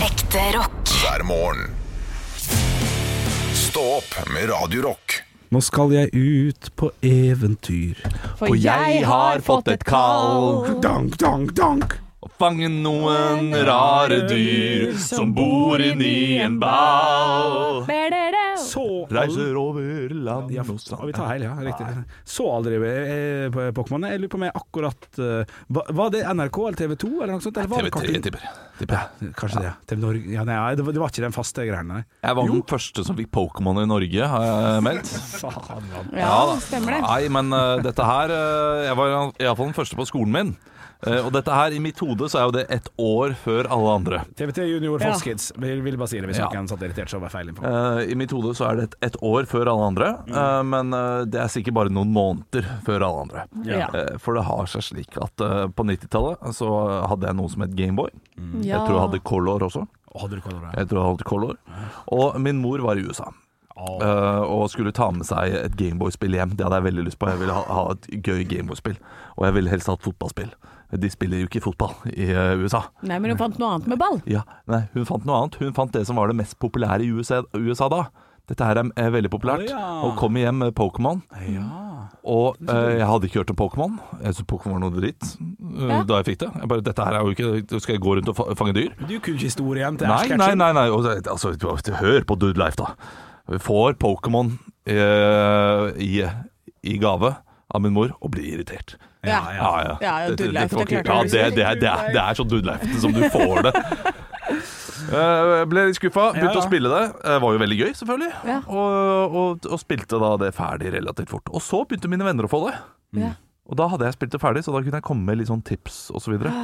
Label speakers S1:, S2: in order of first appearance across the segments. S1: Ekte rock.
S2: hver morgen. Stå opp med Radio Rock.
S3: Nå skal jeg ut på eventyr.
S4: For jeg har fått et kall
S3: Dank, dank, dank.
S4: Å fange noen rare dyr Som bor inni en ball
S3: Så
S4: Reiser over land
S3: ja,
S4: og
S3: ja, vi
S4: strand
S3: tar hele, ja. Riktig. Så aldri eh, på Pokémon. Jeg lurer på om jeg akkurat eh, var- Var det NRK eller TV 2 eller noe sånt? Eller var det
S4: TV3
S3: Cartoon-
S4: tipper jeg. Tipper jeg.
S3: Kanskje det. TV Norge ja, nei, det, var, det var ikke den faste greia, nei.
S4: Jeg var den første som fikk Pokémon i Norge, har jeg meldt.
S3: Faen, mann.
S5: Ja,
S4: da.
S5: stemmer det.
S4: Nei, men eh, dette her eh, Jeg var iallfall den første på skolen min. Eh, og dette her, i mitt hode, så er jo det ett år før alle andre.
S3: TV3 Junior
S5: Ja.
S3: Fox Kids. Vi vil bare si det hvis
S4: Ja.
S3: noen satt irritert, så var det feil info.
S4: Eh, I mitt hode så er det ett et år før alle andre,
S3: Mm.
S4: eh, men eh, det er sikkert bare noen måneder før alle andre.
S5: Ja.
S4: Eh, for det har seg slik at eh, på 90-tallet så hadde jeg noe som het Gameboy. Jeg tror jeg hadde Color også.
S3: Hadde du kolera?
S4: Jeg tror jeg hadde Color. Og min mor var i USA.
S3: Å.
S4: Eh, og skulle ta med seg et Gameboy-spill hjem. Det hadde jeg veldig lyst på. Jeg ville ha, ha et gøy Gameboy-spill. Og jeg ville helst hatt fotballspill. De spiller jo ikke fotball i eh, USA.
S5: Nei, men hun fant noe annet med ball.
S4: Ja, nei, Hun fant noe annet. Hun fant det som var det mest populære i USA, USA da. Dette her er, er veldig populært.
S3: Å, ja.
S4: Og kom hjem med Pokémon. Og eh, jeg hadde ikke hørt om Pokémon. Jeg syntes Pokémon var noe dritt eh,
S5: Ja.
S4: da jeg fikk det. Jeg bare, dette her er jo ikke Skal jeg gå rundt og fa- fange dyr?
S3: Du kunne ikke historien til Ash
S4: Nei, nei, nei, nei. Og, så- altså, hør på Dude Life, da. Vi får Pokémon eh, i, i gave av min mor og blir irritert.
S5: Ja, ja. ja, Dude
S4: Dette- dette
S5: Life, det
S4: var ikke-
S5: klarte
S4: ja,
S5: jeg.
S4: det, det, er- det, er, det er så Dude Life som du får det. Eh, ble litt skuffa, begynte
S3: Ja, ja.
S4: å spille det. Eh, var jo veldig gøy, selvfølgelig.
S5: Ja.
S4: Og, og, og spilte da det ferdig relativt fort. Og så begynte mine venner å få det.
S5: Ja.
S4: Og da hadde jeg spilt det ferdig, så da kunne jeg komme med litt sånn tips osv. Så videre.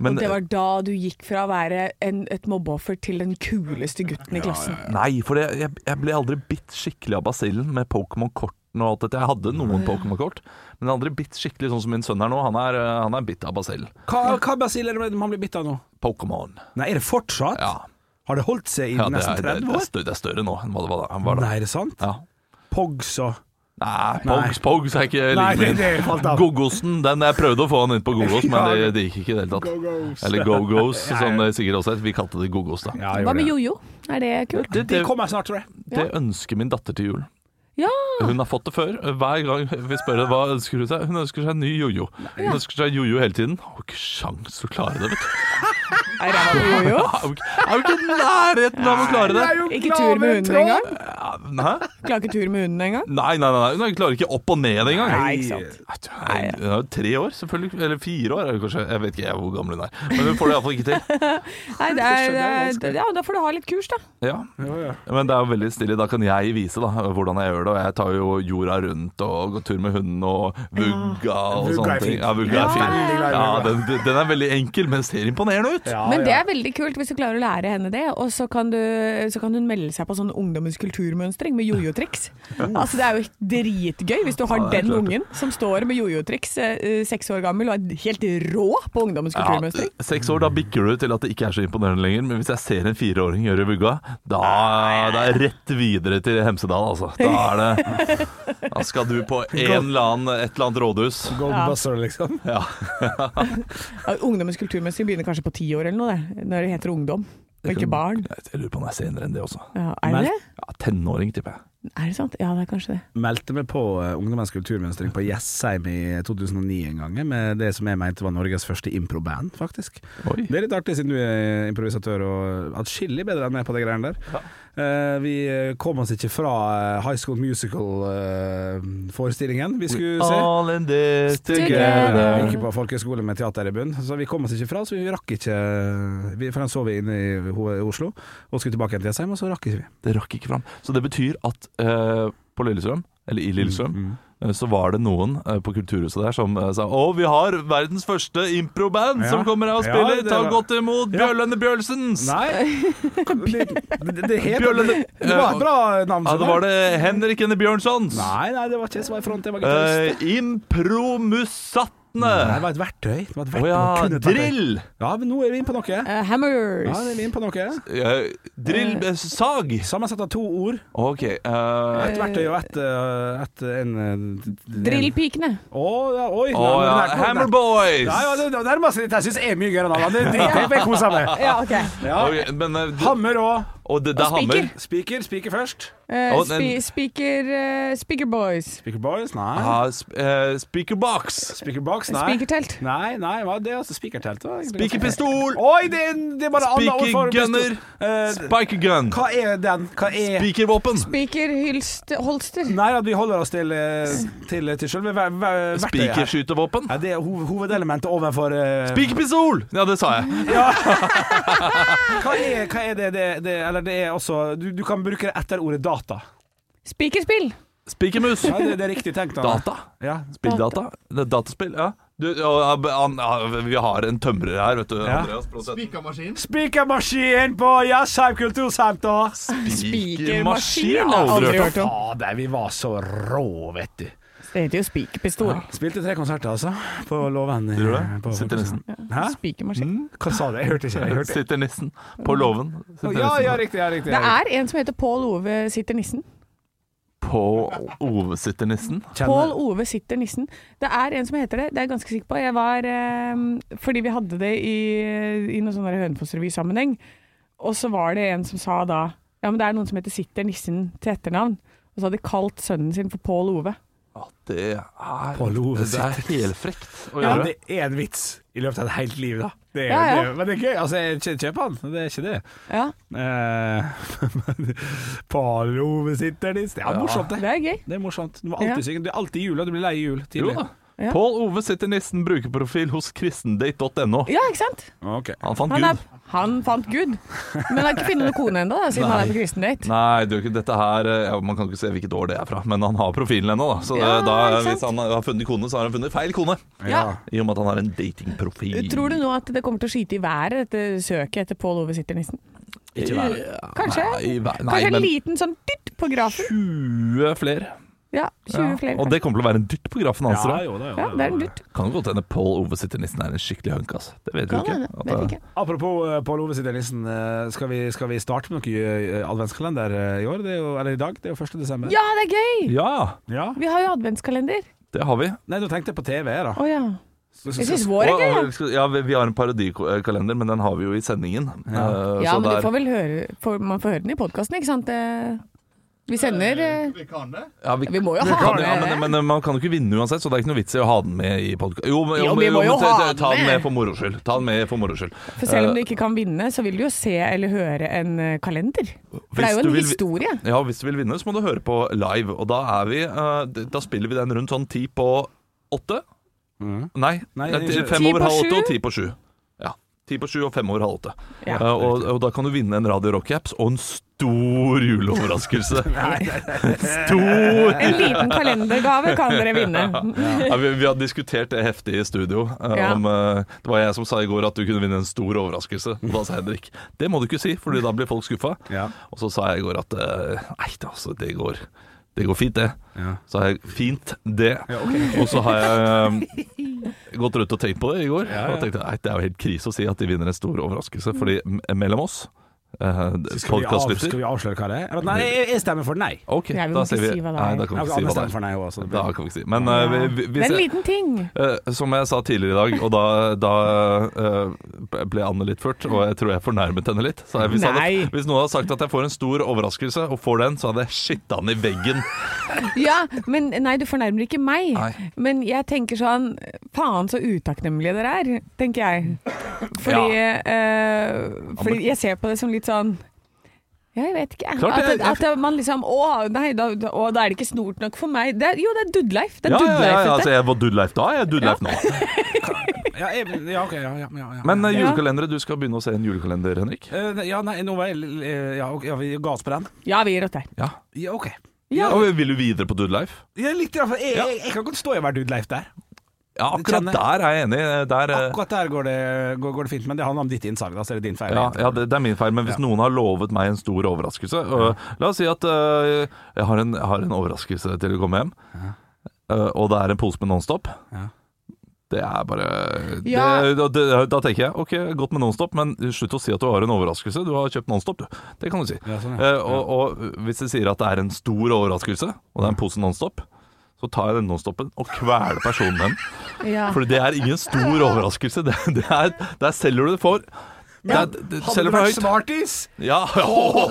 S4: Men
S5: Det var da du gikk fra å være en, et mobbeoffer til den kuleste gutten i klassen.
S4: Nei, for jeg, jeg, jeg ble aldri bitt skikkelig av basillen med Pokémon-kortene og alt dette. Jeg hadde noen Pokémon-kort, men aldri bitt skikkelig sånn som min sønn er nå. Han er, eh, han er bitt av basillen.
S3: Hva, hva basil er det man blir bitt av nå?
S4: Pokémon.
S3: Nei, er det fortsatt?
S4: Ja.
S3: Har det holdt seg i
S4: ja det,
S3: nesten
S4: er, det, er-
S3: 30
S4: det, er
S3: år?
S4: større, det er større nå enn hva det var da. Han var da.
S3: Nei, er det sant?
S4: Ja.
S3: Pogs og
S4: Nei,
S3: Nei.
S4: Pogs, Pogs er ikke
S3: Nei, det,
S4: livet
S3: det
S4: min.
S3: falt av.
S4: Gogosen, den jeg prøvde å få han inn på Gogos, men det, det gikk ikke i det hele tatt.
S3: Go-go's.
S4: Eller Go-Go's, som det sikkert også het. Vi kalte det Gogos, da.
S3: Ja, jeg
S5: Hva
S3: gjorde
S5: med
S3: det.
S5: jojo? Er det kult?
S4: Det,
S3: De
S4: det,
S3: kommer snart, tror jeg.
S4: det ønsker min datter til jul.
S5: Ja!
S4: Hun har fått det før. Hver gang vi spør henne hva ønsker hun seg, hun ønsker seg en ny jojo. Hun ønsker seg jojo hele tiden. Hun Har ikke sjans til å klare det, vet du.
S5: Er det ræva med jojo?
S4: Er jo ikke- er jo ikke i nærheten av å klare det.
S5: Ikke tur med hunden engang?
S4: Hæ?
S5: Klarer ikke tur med hunden engang?
S4: Nei, nei, nei, nei. Hun klarer ikke opp og ned engang.
S5: Nei, ikke sant.
S4: Nei, Hun er jo tre år, selvfølgelig. Eller fire år, er hun kanskje. Jeg vet ikke jeg hvor gammel hun er. Men hun får det iallfall ikke til.
S5: Nei, det er, det er, ja, da får du ha litt kurs, da.
S4: Ja.
S3: Ja, ja.
S4: Men det er jo veldig stille. Da kan jeg vise da, hvordan jeg gjør det. Og jeg tar jo jorda rundt og går tur med hunden og vugga og
S3: Vugga er
S4: sånne
S3: fint.
S4: ting. Ja, vugga er
S3: Ja,
S4: fin.
S3: veldig glad i
S4: Ja,
S3: vugga.
S4: den, den er veldig enkel, men ser imponerende ut.
S3: Ja,
S5: Men det
S3: ja.
S5: er veldig kult hvis du klarer å lære henne det, og så kan, du, så kan hun melde seg på sånn ungdommens kulturmønstring med jojo-triks. Altså det er jo dritgøy hvis du har
S4: Ja, det er
S5: den
S4: klart.
S5: ungen som står med jojo-triks, eh, seks år gammel, og er helt rå på ungdommens
S4: Ja,
S5: kulturmønstring.
S4: seks år, da bikker du til at det ikke er så imponerende lenger. Men hvis jeg ser en fireåring gjøre vugga, da det er det rett videre til Hemsedal, altså. Da er det Da skal du på en eller annen, et eller annet rådhus.
S3: Gold
S5: Ja.
S3: buzzer, liksom.
S4: Ja.
S5: Ja, ungdommens kulturmønstring begynner kanskje på ti år eller noe, det, når det heter ungdom, og ikke barn.
S4: Jeg lurer på om det er senere enn det også.
S5: Ja, er det det?
S4: Ja, Tenåring, tipper jeg.
S5: Er det sant? Ja, det er kanskje det.
S3: Meldte meg på eh, Ungdommens kulturmønstring på Jessheim i 2009 en gang, eh, med det som jeg mente var Norges første improband, faktisk.
S4: Oi.
S3: Det er litt artig, siden du er improvisatør og atskillig bedre enn meg på de greiene der. Eh, vi eh, kom oss ikke fra eh, High School Musical-forestillingen vi skulle se.
S4: All in this
S5: Together.
S4: together.
S3: Gikk på folkehøyskole med teater i bunn, så vi kom oss ikke fra, så vi rakk ikke vi, For den så vi inne i Ho- Oslo, og skulle tilbake igjen til Jessheim, og så rakk ikke vi.
S4: Det rakk ikke fram. Så det betyr at eh, på Lillestrøm, eller i Lillestrøm,
S3: Mm,
S4: eh, så var det noen eh, på Kulturhuset der som eh, sa Å, vi har verdens første improband
S3: Ja.
S4: som kommer her og
S3: Ja,
S4: spiller!
S3: det
S4: Ta
S3: var-
S4: godt imot
S3: Ja.
S4: Bjørlønne Bjørnsens!
S3: Nei! Det, det, det, het-
S4: Bjørlene- Eh,
S3: det var et bra navn.
S4: Ja,
S3: som
S4: det var det Henrik Enne Bjørnsons!
S3: Nei, nei, det var ikke jeg som var i front, jeg var gitarist.
S4: Eh, Impromusatta!
S3: Nei, det
S4: Hammondhattene!
S3: var et verktøy. Det var et
S4: Å
S3: verktøy.
S4: ja,
S3: Det kunne et verktøy.
S4: drill!
S3: Ja, men nå er vi inne på noe. Ja,
S5: Eh, hammers.
S3: nå er vi inne på noe.
S4: Eh, drill eh, Sag!
S3: Sammensatt av to ord.
S4: OK. eh,
S3: Et verktøy og et, eh, et en, eh, en-
S5: Drillpikene.
S3: Å ja, oi.
S4: Å ja, Hammer Boys!
S3: Ja, ja, det det nærmer seg litt. Jeg syns er mye gøyere enn alle andre. Det driter jeg i, for jeg koser meg.
S5: Ja, ok.
S3: Ja.
S4: Ok, men, eh, d-
S3: Hammer og
S4: og det, det er
S5: og spiker.
S4: hammer.
S3: Spiker. Spiker først.
S5: Eh,
S4: Og
S5: spi
S4: den-
S5: speaker, eh, speaker boys.
S3: Speaker boys? Nei.
S4: Ah, sp eh, speakerbox.
S3: Speaker box? Nei.
S5: Speakertelt.
S3: Nei, nei, hva er det? Altså, Spikertelt? da, egentlig.
S4: Spikerpistol.
S3: Oi, det, er- det er bare annet ord for pistol.
S4: Spikergunner.
S3: Eh,
S4: Spikergun.
S3: hva er den? Hva er
S4: Spikervåpen.
S5: Speakerholster.
S3: Nei, at vi holder oss til, eh, til, til selve ver- ver- verktøyet. her.
S4: Spikerskytevåpen.
S3: Ja, det er hov hovedelementet overfor eh,
S4: Spikerpistol! Ja, det sa jeg.
S3: Hva er, hva er det, det, det Eller det er også du, du kan bruke det etter ordet data.
S5: Speakerspill.
S4: Spikermus.
S3: Ja, det, det er riktig tenkt. Anne.
S4: Data.
S3: Ja.
S4: Spilldata. Det er dataspill. Ja. Du, ja, han, ja, vi har en tømrer her, vet du.
S3: Ja.
S4: Andreas Blåseth.
S1: Spikermaskin.
S3: Spikermaskin på Jazzheim kultursenter!
S5: Spikermaskin
S4: Spikermaskin
S5: har jeg
S4: aldri
S5: aldri
S4: hørt.
S5: hørt om.
S3: Fader, vi var så rå, vet du.
S5: Det heter jo speakerpistol.
S3: Spilte tre konserter, altså. På Låven. i-
S4: Gjorde du det?
S3: på-
S4: Sitter nesten.
S3: Hæ?
S4: Mm.
S5: Spikermaskin.
S3: Hva sa du? Jeg hørte ikke. Jeg hørte.
S4: Sitter nissen på låven. Sitter
S3: Ja, ja,
S4: nissen
S3: riktig. Ja, riktig,
S5: Det
S3: ja,
S5: er en som heter Pål Ove Sitter Nissen.
S4: på Ove sitter nissen.
S3: riktig.
S5: Pål Ove Sitter Nissen. Det er en som heter det, det er jeg ganske sikker på. Jeg var, eh, fordi vi hadde det i, i noen sånn der Hønefoss-revysammenheng, og så var det en som sa da Ja, men det er noen som heter Sitter Nissen til etternavn. Og så hadde de kalt sønnen sin for Pål Ove.
S4: Ja, det er
S3: På Love
S4: Det er helfrekt å
S3: Ja,
S4: gjøre.
S3: det er en vits i løpet av et helt liv, da. Det er,
S5: Ja, ja.
S3: Det, men det er gøy. Altså, jeg kj- kjøper den. Det er ikke det.
S5: Ja,
S3: Eh, Palo sitter de Det er morsomt, det.
S5: det er gøy.
S3: Det er morsomt. Du må alltid
S5: Ja.
S3: synge. Du er alltid i jula. Du blir lei i jul
S4: Jo
S3: tidlig.
S4: da.
S5: Ja.
S4: Pål Ove sitter nissen brukerprofil hos kristendate.no.
S5: Ja, ikke sant?
S3: Ok.
S4: Han fant
S5: Han,
S4: Gud.
S5: er, han fant Gud, men har ikke funnet noen kone ennå, siden han er på kristendate.
S4: Nei, det er jo ikke dette her eh, ja, Man kan ikke se hvilket år det er fra, men han har profilen ennå. Da. Så det,
S5: Ja,
S4: da,
S5: ikke sant?
S4: hvis han har funnet kone, så har han funnet feil kone.
S5: Ja.
S4: I og med at han har en datingprofil.
S5: Tror du nå at det kommer til å skyte i været, dette søket etter Pål Ove Sitter-nissen?
S4: ikke være
S5: Kanskje?
S4: Nei, vær- nei,
S5: Kanskje en
S4: men
S5: liten sånn dytt på grafen?
S4: 20 flere.
S5: Ja, 20 flere.
S4: Og det kommer til å være en dytt på grafen hans.
S3: Ja,
S4: da.
S3: jo da, jo da, jo
S5: kanskje. ja, det er en
S3: da.
S5: dytt.
S4: Kan det godt hende Pål Ove sitter nissen er en skikkelig hunk, altså. Det vet vi
S5: Kan
S4: jo
S5: hende,
S4: ikke. At
S5: vet
S4: det-
S5: ikke.
S3: Apropos eh, Pål Ove sitter i nissen. eh, Skal vi, skal vi starte med noe eh, adventskalender eh, i år? Det er jo, eller i dag? Det er jo 1. desember.
S5: Ja, det er gøy!
S4: Ja,
S3: Ja.
S5: Vi har jo adventskalender.
S4: eh, det har vi.
S3: Nei, du tenkte jeg på TV, da.
S5: Å ja.
S3: Så-
S5: Jeg
S3: så-
S5: syns vår er gøy.
S4: Og-
S5: ja.
S4: og- skal- ja, vi vi har en parodikalender, men den har vi jo i sendingen. Eh,
S5: Ja,
S4: så
S5: men
S4: der-
S5: du får vel høre får, Man får høre den i podkasten, ikke sant? Eh, Vi sender eh,
S1: Vi kan det.
S4: ja, vi,
S5: Vi må jo
S4: Vi
S5: ha
S4: kan,
S5: den
S4: ja, men,
S5: med.
S4: men man kan jo ikke vinne uansett, så det er ikke noe vits i å ha den med i podkast... men-
S5: Jo, vi
S4: men-
S5: må jo
S4: men ta-
S5: ha
S4: ta- Ta
S5: den med.
S4: den med for moro skyld. Ta den med for moro skyld.
S5: For selv
S4: Eh,
S5: om du ikke kan vinne, så vil du jo se eller høre en eh, kalender. For det
S4: Hvis
S5: er jo
S4: du
S5: en
S4: vil-
S5: historie.
S4: Ja, Hvis du vil vinne, så må du høre på live. Og da er vi eh, d- Da spiller vi den rundt sånn ti på åtte.
S3: Mhm.
S4: Nei,
S3: Nei,
S4: eh,
S3: ikke-
S4: fem
S5: Ti på
S4: over halv åtte
S5: sju?
S4: og ti på sju. Ja. Ti på sju og fem over halv åtte.
S5: Ja.
S4: Eh, og, og da kan du vinne en Radio Rock-caps og en stor juleoverraskelse. stor!
S5: En liten kalendergave kan dere vinne.
S4: Ja, vi, vi har diskutert det heftig i studio. eh,
S5: Ja.
S4: om, eh, det var jeg som sa i går at du kunne vinne en stor overraskelse. Og da sa Henrik det må du ikke si, Fordi da blir folk skuffa.
S3: Ja.
S4: Og så sa jeg i går at eh, nei, det, altså, det, går, det går fint, det.
S3: Ja.
S4: Så har jeg fint det. Og så har jeg eh, gått rundt og tenkt på det i går.
S3: Ja, ja.
S4: Og tenkte nei, det er jo helt krise å si at de vinner en stor overraskelse, fordi
S5: Mm.
S4: m- mellom oss uh,
S3: Skal vi, av, skal
S4: Podkastlytter.
S3: vi avsløre hva det er? Eller, Nei, jeg, jeg stemmer for nei.
S4: Ok,
S5: Nei, vi må
S4: da
S5: ikke
S4: sier vi
S5: si hva det er.
S4: Nei, da kan
S3: Ja,
S4: vi ikke
S3: Alle
S4: si hva
S3: stemmer
S4: det
S3: for
S4: er.
S3: nei også, så det
S4: Da
S3: blir-
S4: kan vi ikke si. Men eh, vi, vi,
S5: Det
S4: hvis
S5: er en
S4: jeg-
S5: liten ting.
S4: Eh, som jeg sa tidligere i dag, og da, da eh, ble Anne litt ført, og jeg tror jeg fornærmet henne litt. Så jeg, hvis, jeg
S5: Nei.
S4: hadde, hvis noen hadde sagt at jeg får en stor overraskelse, og får den, så hadde jeg shitta han i veggen.
S5: Ja, men nei, du fornærmer ikke meg.
S4: Nei.
S5: Men jeg tenker sånn Faen så utakknemlige dere er, tenker jeg. Fordi, eh, fordi jeg ser på det som litt sånn ja, jeg vet ikke.
S4: Klart
S5: at,
S4: det,
S5: at man liksom Å, nei, da, da, å, da er det ikke snort nok for meg. Det, er- jo, det er Dudleif. Det er
S4: Ja, ja, ja,
S5: Dudleif,
S4: ja,
S5: dette.
S4: altså, jeg var Dudleif da, jeg er Dudleif nå.
S3: Ja, jeg, ja, ok, ja, ja, ja, ja.
S4: Men eh,
S5: Ja.
S4: julekalendere, du skal begynne å se en julekalender, Henrik.
S3: Eh, ne- ja, nei, nå var jeg l- eh, Ja, ok, ja vi ga oss på den.
S5: ja, vi gir oss der.
S4: Ja.
S3: Ja, ok.
S5: Ja.
S4: Og vil du videre på Dudleif?
S3: Ja, litt, i hvert fall. jeg,
S4: Ja.
S3: jeg, jeg kan godt stå i å være Dude Leif der.
S4: Ja,
S3: Det
S4: akkurat
S3: kjenner jeg.
S4: der er jeg enig. Der, eh,
S3: Akkurat der går det, går, går det fint, men det handler om ditt innsalg. Da så er det din feil.
S4: Ja, ja det, det er min feil, men hvis noen har lovet meg en stor overraskelse øh, La oss si at øh, jeg, har eh, en, jeg har en overraskelse til å komme hjem, øh, og det er en pose med Nonstop.
S3: Ja.
S4: Det er bare
S5: Ja.
S4: det, da, det, da tenker jeg ok, godt med Nonstop, men slutt å si at du har en overraskelse. Du har kjøpt Nonstop, du. Det kan du si.
S3: Ja, sånn, ja.
S4: Eh, og, og hvis de sier at det er en stor overraskelse, og det er en pose Nonstop, så tar jeg den Nonstopen og kveler personen med den.
S5: Ja.
S4: For det er ingen stor overraskelse. Det, det er, der selger du det for det er, det,
S3: Hadde det
S4: Selger for
S3: vært
S4: høyt.
S3: smartis?
S4: Ja.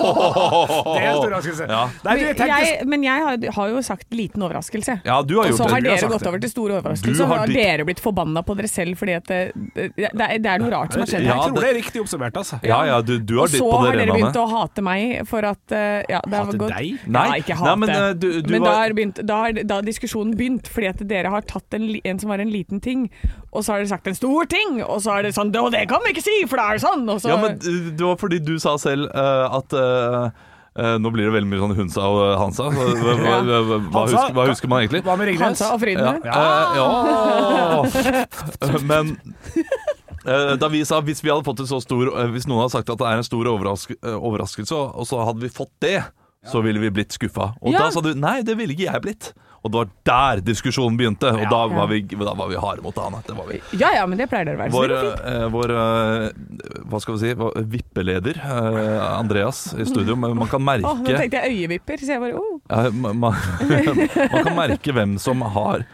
S3: Det er en stor overraskelse.
S4: Ja.
S3: Nei, du, jeg
S5: Men
S3: tenkte
S5: jeg, men jeg har, har jo sagt liten overraskelse.
S4: ja, du har
S5: Og
S4: gjort
S5: så har
S4: det.
S3: har
S5: dere
S3: sagt
S5: gått
S3: det.
S5: over til stor
S4: Du
S5: overraskelse,
S4: har
S5: og så har
S4: ditt-
S5: dere blitt forbanna på dere selv fordi at det, det, det, er- det er noe rart som har skjedd
S4: Ja,
S5: her.
S3: Jeg tror
S4: det-
S3: det er riktig oppsummert, altså.
S4: Ja, ja, du, du har
S5: Og
S4: ditt
S5: så
S4: på det
S5: har dere
S4: rene.
S5: begynt å hate meg for at eh, ja, det har
S3: Hate
S5: gått-
S3: deg?
S5: Nei,
S4: Nei,
S5: ikke
S4: nei,
S5: hate.
S4: men, eh, du- du
S5: Men da
S4: var-
S5: har, begynt, da har da har diskusjonen begynt, fordi at dere har tatt en, li- en som var en liten ting, og så har dere sagt en stor ting, og så er det sånn Og det kan vi ikke si, for da er det sånn! Og så,
S4: Ja, men uh, det var fordi du sa selv uh, at uh, uh, Nå blir det veldig mye sånn Hunsa og Hansa. Hva, hva, hva, hva, hva,
S3: Hansa,
S4: husker, hva husker man egentlig?
S3: Hva med Ringnes?
S5: Hansa og
S4: Ja.
S5: Frydenlund.
S4: Uh, ja. Uh, Men uh, da vi sa hvis vi hadde fått en så stor uh, Hvis noen hadde sagt at det er en stor overrask, uh, overraskelse, og- og så hadde vi fått det, så ville vi blitt skuffa. Og
S5: Ja.
S4: da sa du nei, det ville ikke jeg blitt. Og det var der diskusjonen begynte, og da var vi, da var vi harde mot Hanne. Det var vi.
S5: Ja ja, men det pleier dere å være. Så
S4: Vår,
S5: det går fint.
S4: eh, vår eh, hva skal vi si, vår vippeleder eh, Andreas i studio, men man kan merke
S5: Å, nå tenkte jeg øyevipper, så jeg bare oh.
S4: eh, ma- ma- Man kan merke hvem som har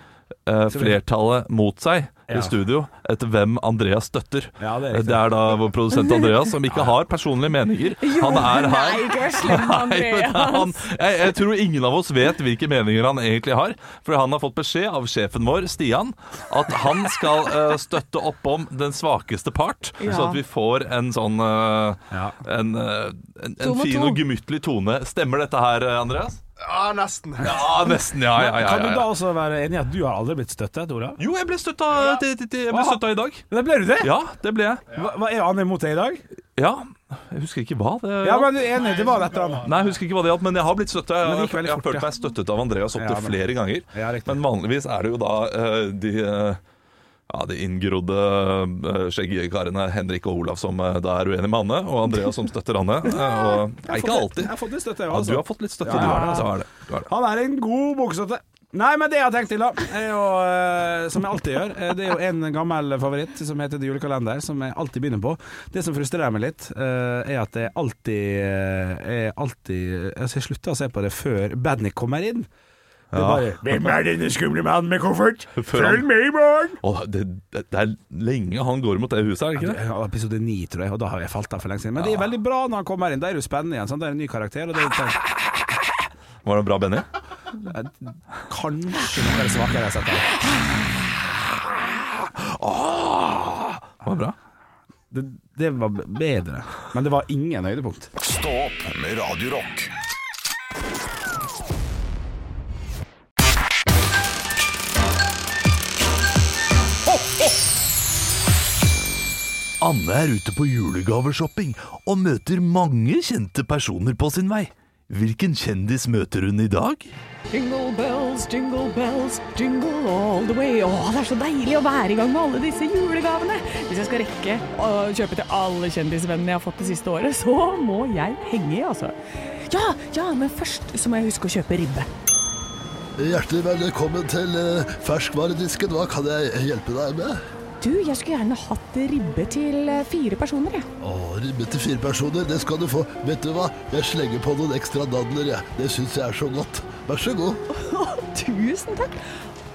S4: eh, flertallet mot seg
S3: Ja.
S4: i studio, etter hvem Andreas støtter.
S3: Ja, det er
S4: Eh,
S3: riktig.
S4: det er da vår produsent Andreas, som ikke har personlige meninger. Han er
S5: Nei,
S4: her.
S5: ikke vær slem,
S4: Nei, men
S5: Andreas.
S4: han, jeg, jeg tror ingen av oss vet hvilke meninger han egentlig har. For han har fått beskjed av sjefen vår, Stian, at han skal eh, støtte opp om den svakeste part.
S5: Ja.
S4: Så at vi får en sånn eh,
S3: Ja.
S4: en, eh, en,
S5: To
S4: en
S5: mot
S4: fin
S5: to.
S4: og gemyttlig tone. Stemmer dette her, eh, Andreas?
S2: Ja, nesten.
S4: Ja, nesten. Ja, ja, ja.
S3: Kan du
S4: ja,
S3: da
S4: ja.
S3: også være enig i at du har aldri blitt støttet, Ola?
S4: Jo, jeg ble støtta, til- til- til- jeg ble
S3: Hva?
S4: støtta i dag.
S3: Men ble du det?
S4: Ja, det ble jeg.
S3: Hva, hva er han imot deg i dag?
S4: Ja. Jeg husker ikke hva det
S3: Ja, men du er enig, det var et eller annet.
S4: Nei, jeg husker ikke hva det gjaldt, men jeg har blitt støtta. Jeg,
S3: Men det
S4: har-
S3: gikk veldig
S4: jeg har
S3: fort, ja.
S4: følt meg støttet av Andreas opptil
S3: Ja, men-
S4: flere ganger.
S3: Ja, riktig.
S4: men vanligvis er det jo da eh, de eh, ja, de inngrodde eh, skjeggkarene Henrik og Olav som eh, da er uenige med Anne, og Andreas som støtter Anne. eh, og, nei, ikke
S3: Jeg
S4: alltid.
S3: har fått litt støtte, jeg
S4: Ja,
S3: også.
S4: du har fått litt støtte,
S3: Ja,
S4: du
S3: ja,
S4: har
S3: ja.
S4: det. Du har det. Du har det.
S3: Han er en god buksete. Nei, men det jeg har tenkt til, da, er jo, eh, som jeg alltid gjør eh, Det er jo en gammel favoritt som heter The Julekalender, som jeg alltid begynner på. Det som frustrerer meg litt, eh, er at jeg alltid, eh, jeg alltid altså Jeg slutta å se på det før Badnik kommer inn. Det er bare Hvem er denne skumle mannen med koffert?
S4: Før han-
S3: med i morgen!
S4: Å, det, det, det er lenge han går mot det huset, er det ikke det?
S3: Ja, Episode ni, tror jeg, og da har jeg falt av for lenge siden. Men det er veldig bra når han kommer inn. Da er det jo spennende igjen. Sant? Det er en ny karakter. Og det er jo
S4: Var det bra, Benny?
S3: kanskje noe av det svakere jeg har sett. av.
S4: Var det bra?
S3: Det, det var b- bedre. Men det var ingen høydepunkt.
S2: Stå opp med Radio Rock.
S4: Anne er ute på julegaveshopping og møter mange kjente personer på sin vei. Hvilken kjendis møter hun i dag?
S5: Jingle bells, jingle bells, jingle all the way. Åh, det er så deilig å være i gang med alle disse julegavene. Hvis jeg skal rekke å kjøpe til alle kjendisvennene jeg har fått det siste året, så må jeg henge i, altså. Ja, ja, men først så må jeg huske å kjøpe ribbe.
S1: Hjertelig velkommen til eh, ferskvaredisken. Hva kan jeg hjelpe deg med?
S5: Du, jeg skulle gjerne hatt ribbe til eh, fire personer, jeg.
S1: Å, ribbe til fire personer, det skal du få. Vet du hva? Jeg slenger på noen ekstra dadler, jeg. Det syns jeg er så godt. Vær så god.
S5: Tusen takk.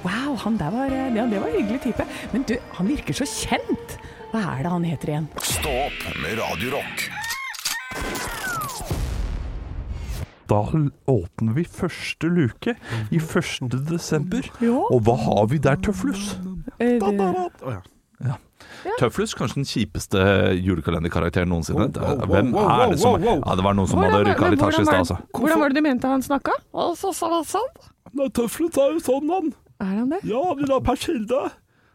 S5: Wow, han der var, eh, ja, det var en hyggelig type. Men du, han virker så kjent. Hva er det han heter igjen?
S2: Stå opp med Radio Rock.
S4: Da åpner vi første luke i 1. desember.
S5: Ja.
S4: Og hva har vi der, Tøflus?
S5: Eh,
S3: Å, ja.
S4: Tøflus, kanskje den kjipeste julekalenderkarakteren noensinne.
S3: Wow, wow, wow,
S4: Hvem
S3: wow,
S4: er det som
S3: wow, wow.
S4: Ja, det var noen som
S5: Hvordan
S4: hadde
S5: var-
S4: rykka
S5: men
S4: litt hasj i
S5: hvordan
S4: stad,
S5: var-
S4: altså.
S5: Hvordan var det du mente han snakka? Altså, sånn, sånn.
S4: Nei, Tøflus er jo sånn, han.
S5: Er han det?
S4: Ja, vi la per kilde.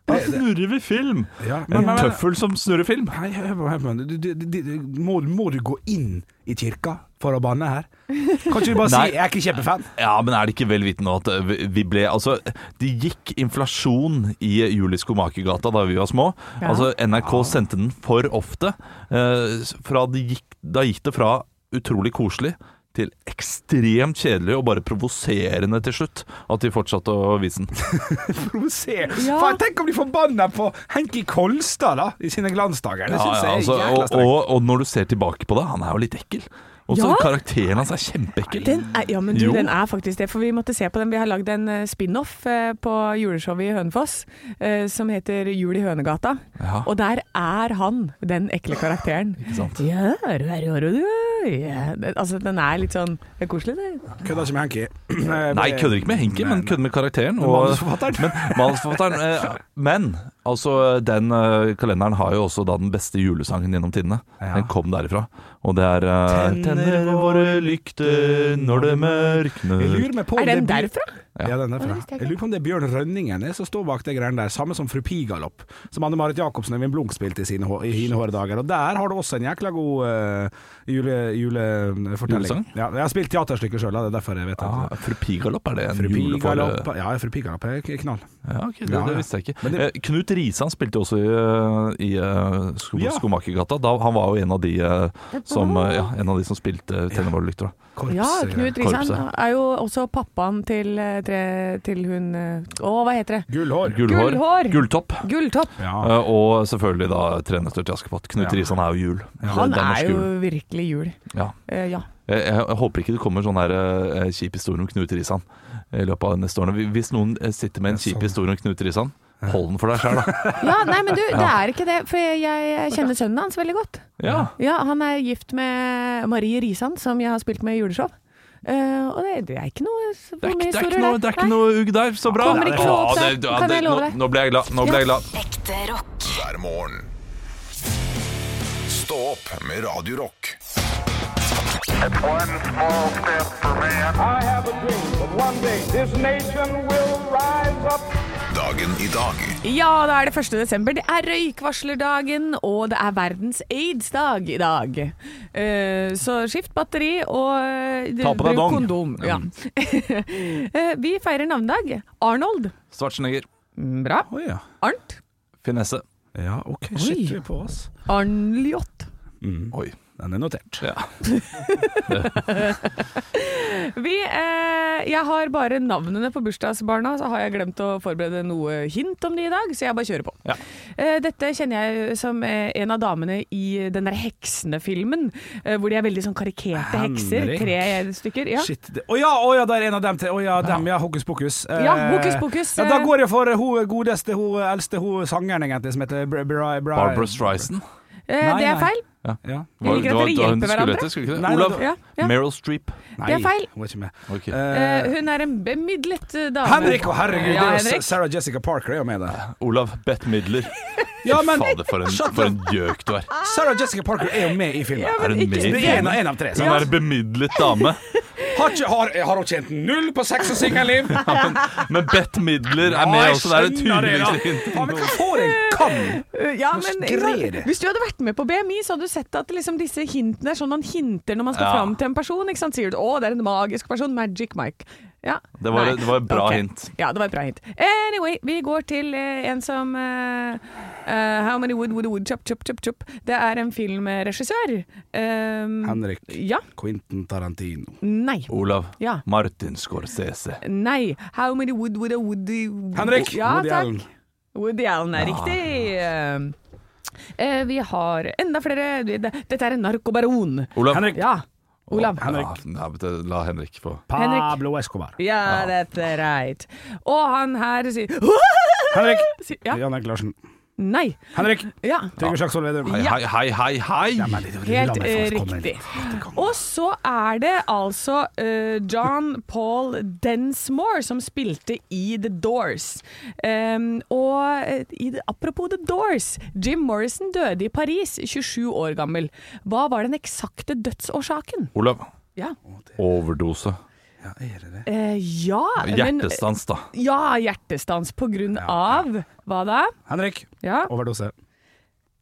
S4: Da snurrer vi film.
S3: Ja, men- men-
S4: En
S3: men-
S4: tøffel som snurrer film.
S3: Nei, hør på- hør på meg. Du- du- du- du- Må, må du gå inn i kirka for å banne her? Kan ikke du bare
S4: Nei.
S3: si 'jeg er ikke kjempefan'?
S4: Ja, men er det ikke vel vitende at eh, vi- vi ble Altså, det gikk inflasjon i Julie Skomakergata da vi var små.
S5: Ja.
S4: Altså, NRK sendte den for ofte. Eh, s- Fra det gikk, da gikk det fra utrolig koselig til ekstremt kjedelig og bare provoserende til slutt at de fortsatte å vise den.
S3: Provoser.
S5: Ja.
S3: Faen, tenk om de forbanna på Henki Kolstad da i sine glansdager. Det
S4: Ja,
S3: syns
S4: ja,
S3: jeg er
S4: altså,
S3: jævla
S4: og,
S3: strengt.
S4: og, og når du ser tilbake på det, han er jo litt ekkel. Og så
S5: Ja.
S4: karakteren hans er kjempeekkel.
S5: Den er, ja, men du,
S4: Jo.
S5: den er faktisk det, for vi måtte se på den. Vi har lagd en eh, spin-off eh, på juleshowet i Hønefoss eh, som heter Jul i Hønegata.
S4: Ja.
S5: Og der er han, den ekle karakteren. Ikke
S4: sant?
S5: Ja, er du her, er du her? Ja. Den- Altså, den er litt sånn Det er koselig, det.
S3: Kødder ikke med Henki.
S4: Nei, kødder ikke med Henki, men kødder med karakteren.
S3: Men manusforfatteren.
S4: men, manusforfatteren eh, men altså, den eh, kalenderen har jo også da den beste julesangen gjennom tidene.
S3: Ja.
S4: Den kom derifra. Og det er eh, Tenner våre lykter når det
S3: Jeg
S4: mørkner
S3: lurer meg på om
S5: Er den
S3: det blir-
S5: derfra?
S3: Ja, den er
S5: Å, det
S3: fra.
S5: visste jeg ikke.
S3: Jeg lurer på om det er Bjørn Rønningen eh, som står bak det greiene der, samme som Fru Pigalopp, som Anne Marit Jacobsen og Evin Blunk spilte i sine hå- i hine hårdager. Og der har du også en jækla god eh, jule, julefortelling.
S4: Julesang?
S3: Ja, jeg har spilt teaterstykke sjøl, det er derfor jeg vet
S4: ah,
S3: at
S4: Fru Pigalopp, er det en
S3: Fru
S4: julefare?
S3: Pigalopp Ja, Fru Pigalopp er k- knall.
S4: Ja, ok, det,
S3: Ja, ja.
S4: det visste jeg ikke.
S3: Men det-
S4: eh, Knut Risan spilte jo også i, eh, i eh, sko
S3: Ja.
S4: Skomakergata. Da, han var jo en av de eh, som, eh, ja, en av de som spilte eh, Tennevollelykter.
S3: Korps.
S5: Ja,
S3: eh,
S5: Knut Risan
S4: Korpset.
S5: er jo også pappaen til, eh, tre, til hun eh, Å, hva heter det?
S3: Gullhår.
S4: Gullhår.
S5: Gullhår.
S4: Gulltopp.
S5: Gulltopp!
S3: Ja.
S4: Eh, og selvfølgelig da trenerstørt til Askepott. Knut
S3: Ja.
S4: Risan er jo jul. Det-
S5: Han
S4: det
S5: er
S4: norsk
S5: jo
S4: jul.
S5: virkelig jul.
S4: ja.
S5: Eh, ja.
S4: jeg, jeg, jeg håper ikke det kommer sånn her eh, kjip historie om Knut Risan i løpet av neste årene. Hvis noen eh, sitter med en
S3: Ja, sånn.
S4: kjip historie om Knut Risan, hold den for deg sjøl, da.
S5: ja, nei, men du, det er ikke det. For jeg, jeg kjenner sønnen hans veldig godt.
S4: Ja.
S5: Ja, han er gift med Marie Risan, som jeg har spilt med i juleshow. Eh, og det, det er ikke noe
S4: Det er, ikke- det er ikke noe, det er ikke noe ugg der. Så bra.
S5: Kommer ikke noe opp
S4: Å,
S5: der.
S4: det- ja,
S5: Kan jeg
S4: det-
S5: love
S4: nå-
S5: deg?
S4: Nå ble jeg glad. Nå ble jeg glad.
S6: Ekte rock.
S2: hver morgen. Stå opp med Radio Rock.
S7: One small step for man. I have a dream that one day this nation will rise up.
S2: Dagen i dag
S5: Ja, da er det 1. desember. Det er røykvarslerdagen, og det er verdens aids-dag i dag. Eh, så skift batteri og eh,
S4: Ta på
S5: bruk
S4: deg dong. Mm.
S5: kondom. Ja. Eh, vi feirer navnedag. Arnold.
S4: Svartsneger.
S5: Mm, Bra.
S3: Oi, ja.
S5: Arnt.
S4: Finesse.
S3: ja, OK. Shit,
S5: Oi.
S3: vi er på oss.
S5: Arnljot.
S4: Oi.
S3: Den er notert.
S4: Ja.
S5: Vi, eh, jeg har bare navnene på bursdagsbarna, så har jeg glemt å forberede noe hint om de i dag, så jeg bare kjører på.
S4: Ja.
S5: Eh, dette kjenner jeg som eh, en av damene i den der Heksene-filmen, eh, hvor de er veldig sånn karikerte hekser.
S3: Henrik.
S5: Tre stykker. Ja.
S3: Shit. det- Å ja, å ja, der er en av dem til. Å ja, dem, ja. Hokus pokus. Eh,
S5: Ja, hokus pokus,
S3: Ja, da
S5: eh.
S3: går jeg for hun godeste, hun eldste, hun sangeren egentlig, som heter Bra... Bra, Bra
S4: Barbara Strison.
S5: Eh,
S3: Nei,
S5: det
S3: nei.
S5: er feil.
S3: Ja.
S5: Jeg liker at dere hjelper hverandre.
S4: Skulle ikke det?
S3: Nei, nei,
S4: Olav.
S5: Ja, ja.
S4: Meryl Streep.
S3: Nei,
S5: Det er feil.
S3: Hun var ikke med.
S4: Ok.
S5: Eh,
S3: Eh,
S5: hun er en bemidlet eh, dame.
S3: Henrik, å herregud,
S5: Ja,
S3: det er jo
S5: Henrik. Ah.
S3: Sarah Jessica Parker er jo med der.
S4: Olav Bett Midler.
S3: Ja, men
S4: Fader, for en,
S3: Shut
S4: for
S3: up.
S4: en gjøk du er.
S3: Sarah Jessica Parker er jo med i filmen.
S5: Ja,
S4: Er hun
S5: men
S4: med i
S5: ikke
S3: Det er en av, en av tre.
S4: Hun
S3: sant?
S4: er en bemidlet dame.
S3: Har, ikke, har, har hun tjent null på sex og singelliv?
S4: Men Bett Midler er
S3: Ja,
S4: med
S3: jeg
S4: også. Det er det
S3: skjønner det, da.
S4: tydeligvis ikke
S3: Faen, men
S4: noe-
S3: hva får en kan?
S5: Eh, ja,
S3: Nå skrei
S5: men, ikke sant?
S3: det.
S5: Hvis du hadde vært med på BMI, så hadde du sett at liksom, disse hintene er sånn man hinter når man skal
S4: Ja.
S5: fram til en person. Ikke sant? Sier du 'Å, det er en magisk person'. Magic Mike. Ja.
S4: Det var-
S5: Nei.
S4: det var et bra
S5: Ok.
S4: hint.
S5: Ja, det var et bra hint. Anyway, vi går til eh, en som eh, eh, How many wood would a wood chop chop chop chop? Det er en filmregissør. Um,
S3: Henrik.
S5: Ja.
S3: Quentin Tarantino.
S5: Nei.
S4: Olav.
S5: Ja.
S4: Martin Scorsese.
S5: Nei. How many wood would a woody
S3: Henrik!
S5: Ja,
S3: Woody
S5: takk.
S3: Allen.
S5: Woody Allen er riktig. Eh, vi har enda flere Dette er en narkobaron.
S4: Olav.
S3: Henrik.
S5: Ja. Olav.
S4: Ja, nei, vet du, la Henrik få.
S5: Henrik.
S3: Pablo Escobar.
S5: Ja, dette er right. Og han her sier
S3: Henrik.
S5: Si- Ja.
S3: Jan Erik Larsen.
S5: Nei.
S3: Henrik.
S5: Ja.
S3: Trygve Slagsvold Vedum.
S4: Hei,
S5: Ja.
S4: hei, hei, hei, hei!
S5: Helt eh, riktig. Og så er det altså eh, John Paul Densmore som spilte i The Doors. Em, og eh, i, det- apropos The Doors, Jim Morrison døde i Paris, 27 år gammel. Hva var den eksakte dødsårsaken?
S4: Olav.
S5: Ja,
S4: Overdose.
S5: Eh, ja men-
S4: Hjertestans, da.
S5: Ja, hjertestans på grunn av Hva da?
S3: Henrik.
S5: Ja.
S3: Overdose.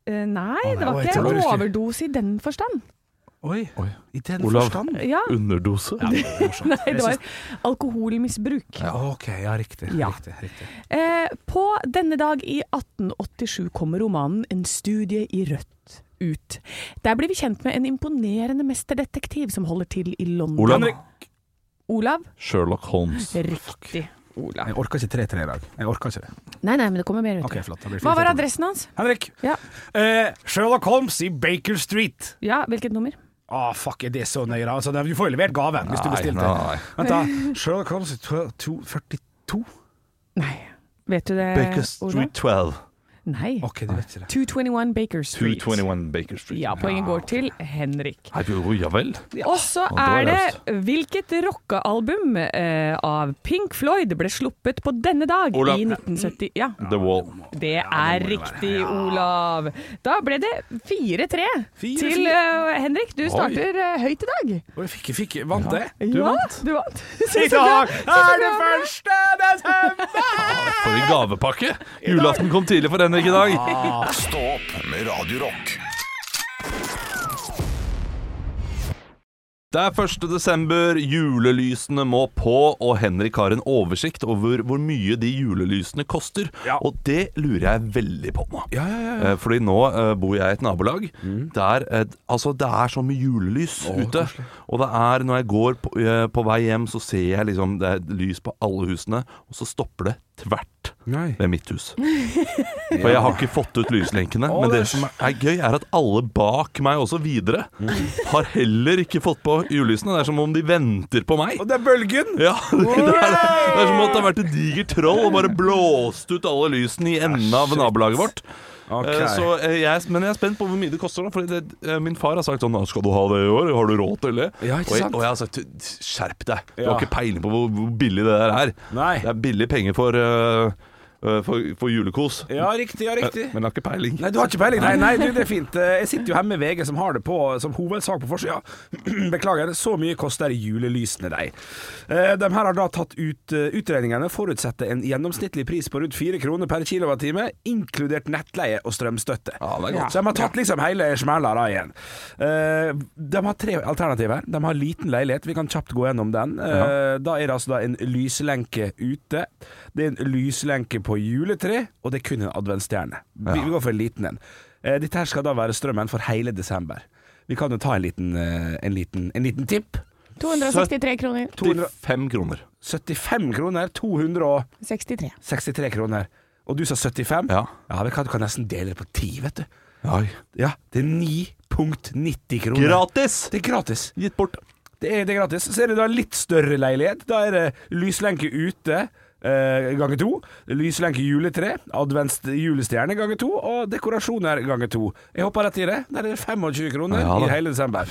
S5: Eh, nei, det
S3: hva
S5: var ikke
S3: heter
S5: en
S3: det?
S5: overdose i den forstand.
S3: Oi.
S4: Oi.
S3: I den
S4: Olav.
S3: forstand?
S5: Ja,
S4: Underdose?
S5: nei, det var alkoholmisbruk.
S3: Ja, ok, ja, riktig.
S5: Ja.
S3: riktig, riktig.
S5: Eh, på denne dag i 1887 kom romanen En studie i rødt ut. Der blir vi kjent med en imponerende mesterdetektiv som holder til i London.
S4: Olav
S5: Olav?
S4: Sherlock Holmes.
S5: Riktig. Olav.
S3: Jeg orker ikke 3-3 i dag. Jeg orker ikke det.
S5: Nei, nei, men det kommer mer ut.
S3: Ok, flott. Da blir det
S5: Hva var
S3: 4-3.
S5: adressen hans?
S3: Henrik.
S5: Ja.
S3: Eh, Sherlock Holmes i Baker Street.
S5: ja, hvilket nummer?
S3: Ah, fuck, er det så nøye? da? Altså, du får jo levert gaven hvis du
S4: Nei,
S3: bestilte.
S4: nei.
S3: Vent, da. Sherlock Holmes i tw- to- 42?
S5: Nei. Vet du det,
S4: Baker
S5: Olav?
S4: Street 12.
S5: Nei.
S3: OK, du vet ikke det.
S5: 221 Baker Street.
S4: 221 Baker Street.
S5: Ja, poenget går til Henrik.
S4: Nei, jo, ja vel.
S5: Og så
S4: det
S5: er
S4: var
S5: det hvilket rockealbum eh, av Pink Floyd ble sluppet på denne dag
S4: Olav.
S5: i 1970? Ja,
S4: The Wall.
S5: det er riktig, Olav. Da ble det 4-3
S3: Fire,
S5: til eh, Henrik. Du starter eh, høyt i dag.
S3: Og jeg fikk, fikk, vant det?
S5: Du vant. Du vant.
S3: I dag er det første desember!
S4: For en gavepakke! Julaften kom tidlig for Henrik i
S5: Ah.
S4: dag.
S2: Stå opp med Radio Rock.
S4: Det er 1. desember, julelysene må på, og Henrik har en oversikt over hvor mye de julelysene koster.
S3: Ja.
S4: Og det lurer jeg veldig på nå.
S3: Ja, Mm. ja, ja.
S4: Eh, Fordi nå eh, bor jeg i et nabolag der eh, altså, det er så mye julelys ute. Og det er når jeg går på, eh, på vei hjem, så ser jeg liksom det er lys på alle husene, og så stopper det tvert
S3: Nei.
S4: ved mitt hus. For jeg har ikke fått ut lyslenkene. Men det som er gøy, er at alle bak meg også videre har heller ikke fått på julelysene. Det er som om de venter på meg.
S3: Og det er bølgen!
S4: Ja, det er, det er som om det har vært et digert troll og bare blåst ut alle lysene i enden av nabolaget vårt.
S3: Ok.
S4: Eh, Så eh, jeg, er- men jeg er spent på hvor mye det koster. da, Fordi det, eh, min far har sagt sånn «Skal du ha det i år? Har du råd til det?»
S3: Ja, ikke
S4: og, jeg,
S3: sant?
S4: og jeg har sagt «Skjerp deg! Du
S3: Ja.
S4: har ikke peiling på hvor, hvor billig det der er.
S3: Nei.
S4: Det er billig penger for, eh, eh, for, for julekos. Eh,
S3: Ja, riktig, ja, riktig.
S4: Men jeg har ikke peiling.
S3: Nei, du har ikke peiling. Nei, nei du, det er fint. Eh, Jeg sitter jo her med VG, som har det på som hovedsak på forsida. Beklager, så mye koster julelysene de. Eh, De her har da tatt ut eh, utregningene, forutsetter en gjennomsnittlig pris på rundt 4 kroner per kilowattime, inkludert nettleie og strømstøtte.
S4: Ja, det er godt.
S3: Så de har tatt liksom hele smella da igjen. Eh, De har tre alternativer. De har liten leilighet, vi kan kjapt gå gjennom den. Eh, Da er det altså da en lyslenke ute. Det er en lyslenke på juletre, og det er kun en adventsstjerne. Vi, vi går for en liten en. Eh, Dette her skal da være strømmen for hele desember. Vi kan jo ta en liten, eh, en liten, en liten tipp.
S5: 263 kroner.
S4: 205 kroner.
S3: 75 kroner, 263
S5: 63.
S3: kroner. Og du sa 75?
S4: Ja.
S3: ja men kan, du kan nesten dele det på 10, vet du.
S4: Oi.
S3: Ja, det er 9,90 kroner.
S4: Gratis!
S3: Det er gratis.
S4: Gitt bort.
S3: Det er, det er gratis. Så er det da litt større leilighet. Da er det lyslenke ute. eh, ganger to. Lyslenke juletre. Advents julestjerne ganger to. Og dekorasjoner ganger to. Jeg hopper rett i det. Der er det 25 kroner
S4: Ja, da.
S3: i hele desember.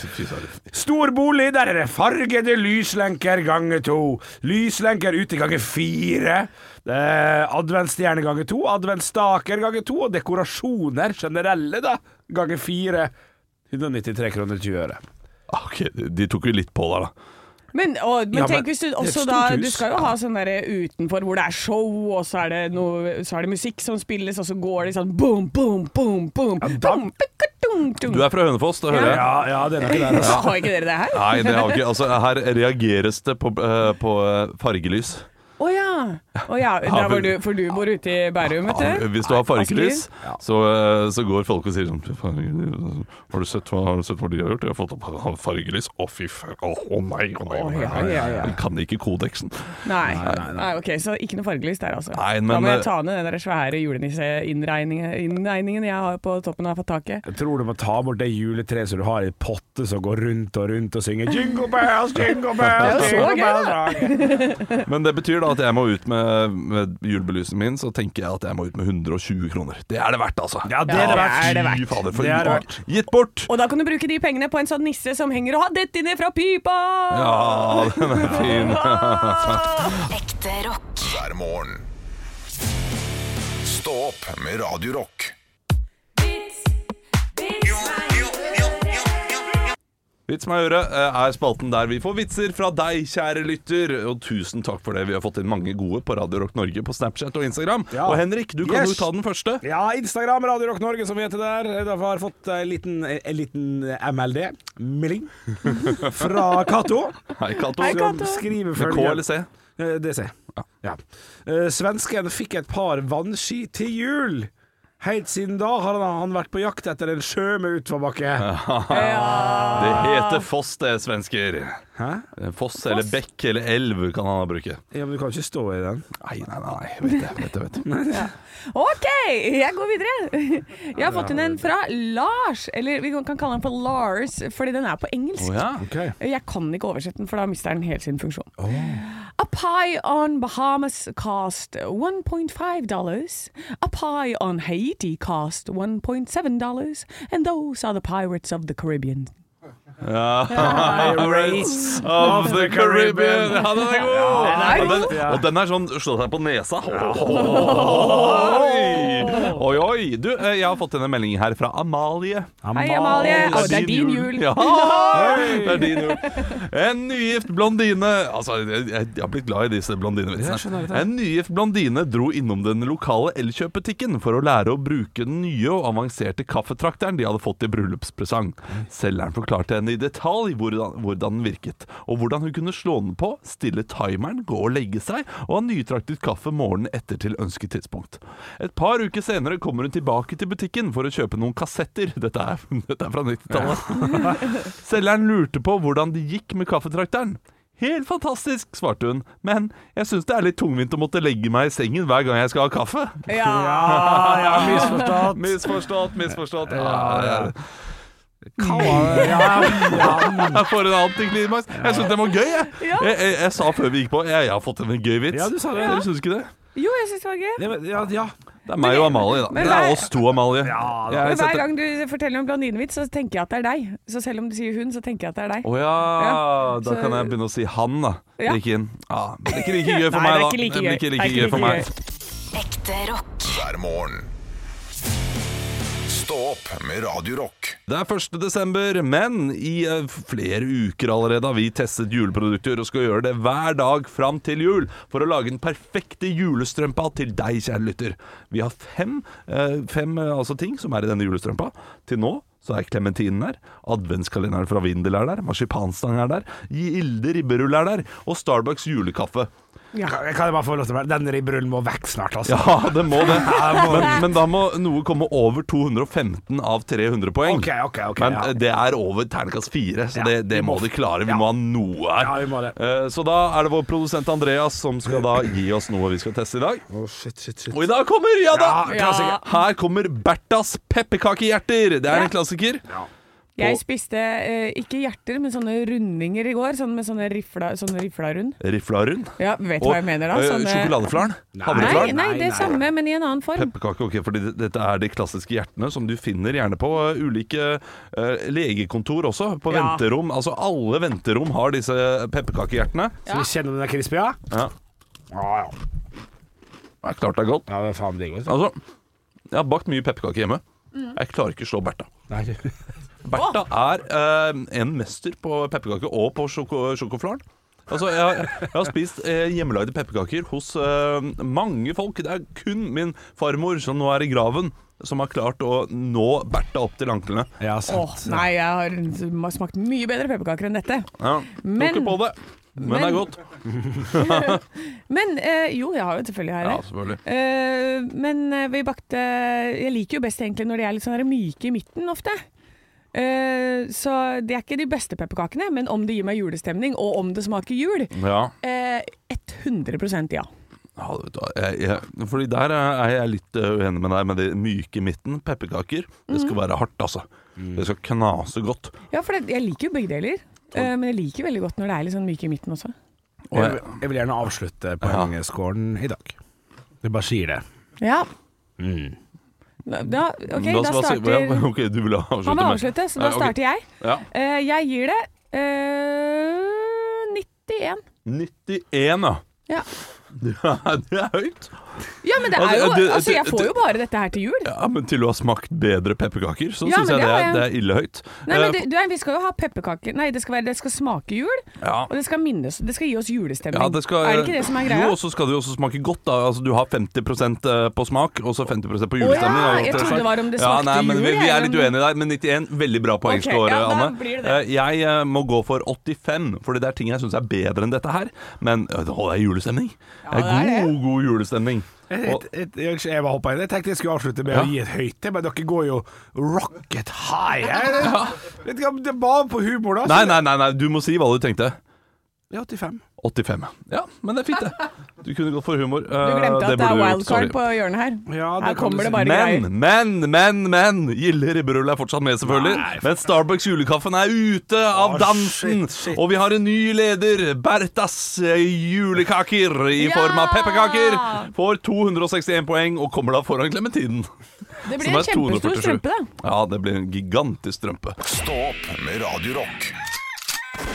S3: Stor bolig, der er det fargede lyslenker ganger to. Lyslenker ute ganger fire. Eh, adventsstjerne ganger to. Adventsstaker ganger to. Og dekorasjoner generelle, da, ganger fire. 193 kroner 20 øre.
S4: Ok, de tok jo litt på der, da.
S5: Men, og, men
S3: Ja, men
S5: tenk hvis du
S3: det er et
S5: også
S3: stort
S5: da
S3: hus.
S5: Du skal jo ha sånn derre utenfor hvor det er show, og så er det, noe, så er det musikk som spilles, og så går det sånn boom, boom, boom, boom.
S3: da-
S5: boom, pikkatum, tum.
S4: Du er fra Hønefoss, det hører jeg.
S3: Ja, ja, det er nok det. altså.
S5: Har ikke dere det her? Å
S4: Nei, det har vi ikke. Altså, her reageres det på, eh, på eh, fargelys.
S5: ja. Å ja. Der hvor du, for du bor ute i Bærum,
S4: Ja,
S5: vet du.
S4: hvis du har fargelys,
S5: Asker.
S4: så, eh, så går folk og sier sånn "Fy faen, Har du sett hva, har du sett hva de har gjort? De har fått opp har fargelys. Å, fy faen. Å å nei, å nei. Å, nei,
S5: ja, ja, ja.
S4: De kan ikke kodeksen.
S5: Nei. Nei, ok, Så ikke noe fargelys der, altså.
S4: Nei,
S5: da
S4: men,
S5: må
S4: eh,
S5: jeg ta ned den der svære julenisseinnregningen innregningen jeg har på toppen av taket.
S3: Jeg tror du må ta bort det juletreet som du har i en potte som går rundt og rundt og synger Jingle bells, jingle bells,
S5: Det er jo så
S3: jingle
S5: gøy,
S3: bells
S4: Men det betyr da at jeg må ut med, med julebelysningen min, så tenker jeg at jeg må ut med 120 kroner. Det er det verdt, altså.
S3: Ja, det er det verdt.
S4: Fy fader, for
S3: Det er det
S4: gitt, gitt bort!
S5: Og da kan du bruke de pengene på en sånn nisse som henger og har dette inni fra pipa!
S4: Ja, den er fin.
S6: Ekte rock.
S2: hver morgen. Stå opp med Radio Rock.
S4: Vits meg i øret eh, er spalten der vi får vitser fra deg, kjære lytter. Og tusen takk for det. Vi har fått inn mange gode på Radio Rock Norge på Snapchat og Instagram.
S3: Ja.
S4: Og Henrik, du kan
S3: Yes.
S4: jo ta den første.
S3: Ja, Instagram, Radio Rock Norge som vi heter der. Derfor har jeg fått en liten, en liten eh, MLD, melding, fra Cato.
S4: Hei, Cato.
S5: Hei, Cato.
S3: Som skriver
S4: Med K
S3: følgende-
S4: eller C?
S3: Eh, Det ser jeg. Ja. Eh, svensken fikk et par vannski til jul. Helt siden da har han, han vært på jakt etter en sjø med utforbakke.
S4: Det
S5: Ah.
S4: heter foss, det, svensker. Eh,
S3: Hæ?
S4: Foss eller bekk eller elv kan han bruke.
S3: Ja, men du kan ikke stå i den.
S4: Nei, nei, nei. Vet det, vet det. Vet det.
S5: OK, jeg går videre. Jeg har fått inn en fra Lars, eller vi kan kalle den for Lars, fordi den er på engelsk.
S4: Å, ja.
S5: Jeg kan ikke oversette den, for da mister den helt sin funksjon. A pie on Bahamas cost 1.5 dollars. A pie on Haiti cost 1.7 dollars. And those are the pirates of the Caribbean.
S3: Pirates
S4: Of the Caribbean! Ja, den er god!
S5: Ja, den er
S4: og, den,
S3: god.
S4: og den er sånn slå deg på nesa. Oi, oi! oi. Du, eh, jeg har fått inn en melding her fra Amalie.
S5: Hei, Amalie. Å, det er din jul.
S4: Ja, det er din jul. En nygift blondine Altså, jeg, jeg, jeg har blitt glad i disse
S3: Ja, jeg skjønner
S4: blondinevitsene.
S3: det.
S4: En nygift blondine dro innom den lokale elkjøpbutikken for å lære å bruke den nye og avanserte kaffetrakteren de hadde fått i bryllupspresang. Selgeren forklarte henne i detalj hvordan, hvordan den virket, og hvordan hun kunne slå den på, stille timeren, gå og legge seg, og ha nytraktet kaffe morgenen etter til ønsket tidspunkt. Et par uker senere kommer hun tilbake til butikken for å kjøpe noen kassetter. Dette er, dette er fra 90-tallet. Selgeren lurte på hvordan det gikk med kaffetrakteren. Helt fantastisk, svarte hun, men jeg syns det er litt tungvint å måtte legge meg i sengen hver gang jeg skal ha kaffe.
S3: Ah, Ja, ja, misforstått. Ah,
S4: Misforstått, misforstått. Ja, ja.
S3: Ja, Ja, ja, ja.
S4: Jeg får en antiklimaks. Jeg syns den var gøy, jeg.
S5: Ja.
S4: Jeg, jeg. jeg sa før vi gikk på jeg, jeg har fått en gøy vits.
S3: Ja, du sa det.
S4: Dere syns ikke det?
S5: Jo, jeg syns det var gøy.
S3: Ja, men- ja, ja.
S4: Det er meg og Amalie, da.
S5: men
S4: det
S5: hver-
S4: er oss to, Amalie.
S3: Ja, da.
S5: Men
S4: Jeg
S5: hver
S4: setter-
S5: gang du forteller om blondinevits, så tenker jeg at det er deg. Så selv om du sier hun, så tenker jeg at det er deg.
S4: Å ja,
S5: Ja,
S4: da
S5: så-
S4: kan jeg begynne å si han, da.
S5: Ja.
S4: Ikke inn. Ja, men det er ikke like gøy for
S5: Nei,
S4: meg,
S5: det
S4: da.
S5: er ikke like
S4: blir
S5: gøy. Det er
S4: ikke like
S5: ikke
S4: gøy
S5: like
S4: for meg.
S6: Ekte rock.
S2: hver morgen. Stå opp med Radio Rock.
S4: Det er 1. desember, men i eh, flere uker allerede har vi testet juleprodukter og skal gjøre det hver dag fram til jul for å lage den perfekte julestrømpa til deg, kjære lytter. Vi har fem, eh, fem eh, altså ting som er i denne julestrømpa. Til nå så er klementinen der, adventskalenderen fra Vindel er der, marsipanstang er der, Gilde ribberull er der, og Starbucks julekaffe.
S3: Kan kan jeg bare få lov til å være Den ribrullen må vekk snart, altså.
S4: Ja, det må det. Men, men da må noe komme over 215 av 300 poeng.
S3: Ok, ok, ok,
S4: men
S3: ja.
S4: eh, det er over terningkast fire, så
S3: Ja,
S4: det, det
S3: vi
S4: må
S3: må-
S4: de klare. Vi
S3: ja.
S4: må ha noe her.
S3: Ja, vi må det.
S4: Eh, Så da er det vår produsent Andreas som skal da gi oss noe vi skal teste i dag.
S3: Å, shit, shit, shit.
S4: Og i dag kommer, ja da!
S3: Ja, klassiker.
S4: Her kommer Berthas pepperkakehjerter. Det er en klassiker.
S5: Jeg spiste eh, ikke hjerter, men sånne rundinger i går. Sånn med sånne rifla, sånne rifla rund.
S4: Rifla rund.
S5: Ja, vet du hva jeg mener da? sånn,
S4: eh,
S5: Sånne...
S4: Sjokoladeflaren.
S5: Nei,
S4: Havreflaren.
S5: nei,
S3: Nei,
S5: det
S3: nei.
S5: samme, men i en annen form.
S4: Pepperkake, ok, fordi det- dette er de klassiske hjertene som du finner gjerne på eh, ulike eh, legekontor også, på
S5: Ja.
S4: venterom. Altså alle venterom har disse pepperkakehjertene.
S3: Skal vi kjenne om den er crispy, ja?
S4: Ja.
S3: Ja, ja.
S4: Det er klart det er godt.
S3: Ja, det er faen digg. altså.
S4: Altså, jeg har bakt mye pepperkaker hjemme. Jeg klarer ikke å slå Bertha.
S3: Nei.
S4: Bertha er eh, en mester på pepperkake og på sjoko sjokoflaren. Altså, jeg, har- jeg har spist eh, hjemmelagde pepperkaker hos eh, mange folk. Det er kun min farmor, som nå er i graven, som har klart å nå Bertha opp til anklene.
S3: Ja,
S5: Åh,
S3: sant.
S5: nei, jeg har smakt mye bedre pepperkaker enn dette.
S4: Ja,
S5: Men-
S4: tok ikke på det. Men, det
S5: men-
S4: er godt.
S5: Men eh, jo, jeg har jo selvfølgelig her.
S4: Ja, altså.
S5: det.
S4: selvfølgelig.
S5: Eh, men eh, vi bakte Jeg liker jo best egentlig når de er litt sånn her myke i midten ofte. Eh, så det er ikke de beste pepperkakene, men om det gir meg julestemning, og om det smaker jul,
S4: Ja.
S5: eh, 100 ja.
S4: ja vet du, hva, jeg, jeg, fordi der er jeg litt eh, uenig med deg med det myke i midten. Pepperkaker. Det
S5: Mhm.
S4: skal være hardt, altså. Det skal knase godt.
S5: Ja, for det, jeg liker jo begge deler. Eh, men jeg liker veldig godt når det er litt sånn myke i midten også.
S4: Og
S3: Jeg,
S4: jeg,
S3: vil- jeg vil gjerne avslutte poengskåren i dag. Jeg bare sier det.
S5: Ja.
S4: Mm.
S5: Da, OK,
S4: hva-
S5: da
S4: hva sier-
S5: starter
S4: ja, ok, du vil avslutte
S5: Han må
S4: med-
S5: avslutte, så
S4: Ja,
S5: da
S4: ok.
S5: starter jeg.
S4: Ja.
S5: Eh, jeg gir det eh, 91.
S4: 91, ja.
S5: Ja.
S4: Det er, det er høyt.
S5: ja, men det
S4: Altså,
S5: er jo
S4: det-
S5: Altså, jeg
S4: det-
S5: får jo
S4: det-
S5: bare dette her til jul.
S4: Ja, Men til å ha smakt bedre pepperkaker, så
S5: Ja,
S4: synes syns
S5: men det
S4: jeg det
S5: har
S4: er,
S5: jeg.
S4: det er ille høyt.
S5: Nei, men
S4: Eh,
S5: det, du, vi skal jo ha pepperkaker Nei, det skal, være, det skal smake jul,
S4: ja.
S5: og det skal minnes Det skal gi oss julestemning.
S4: Ja, det skal,
S5: er det ikke det som er greia?
S4: Jo, og så skal det jo også smake godt. Da. Altså, du har 50 på smak, og så 50 på julestemning.
S5: Å ja,
S4: da,
S5: jeg
S4: til
S5: trodde
S4: sak.
S5: det var om det
S4: Ja,
S5: smakte
S4: nei, men vi,
S5: jul,
S4: vi
S5: jeg,
S4: er litt
S5: men-
S4: uenige der, men 91 veldig bra
S5: Ok,
S4: poengscore,
S5: ja, da
S4: Anne.
S5: blir det det.
S4: Eh, Jeg eh, må gå for 85, eh, fordi det er ting jeg syns er bedre enn dette her. Men øh, å, det er julestemning.
S5: det er
S4: god, god julestemning.
S3: Jeg, jeg, jeg, jeg bare hoppet inn. Jeg tenkte jeg skulle avslutte med å
S4: Ja.
S3: gi et høyt, men dere går jo rocket high her. Vet du hva, Det er bare på humor, da. så-
S4: Nei, nei, nei, nei, du må si hva du tenkte.
S3: Ja, 85.
S4: 85. Ja, men det er fint, det. Du kunne gått for humor. Eh,
S5: Du glemte at det er wildcard på
S4: på
S5: hjørnet her.
S3: Ja, det
S5: her
S3: kan du
S5: kommer det
S3: si.
S5: bare
S4: men,
S5: greier.
S4: men, men, men Gilde Ribberull er fortsatt med, selvfølgelig. men Starbucks julekaffen er ute av
S3: Å,
S4: dansen.
S3: shit, shit.
S4: Og vi har en ny leder. Berthas eh, julekaker i
S5: Ja!
S4: form av pepperkaker. Får 261 poeng og kommer da foran Clementinen.
S5: Det
S4: som
S5: blir
S4: er
S5: en kjempestor
S4: 247.
S5: strømpe, da.
S4: Ja, det blir en gigantisk strømpe.
S2: Stå opp med Radio Rock.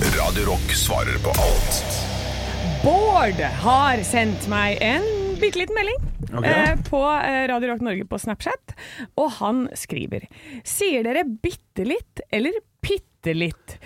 S2: Radio Rock svarer på alt.
S5: Bård har sendt meg en bitte liten melding eh, på eh, Radio Rock Norge på Snapchat, og han skriver Sier dere bitte litt eller bitte litt?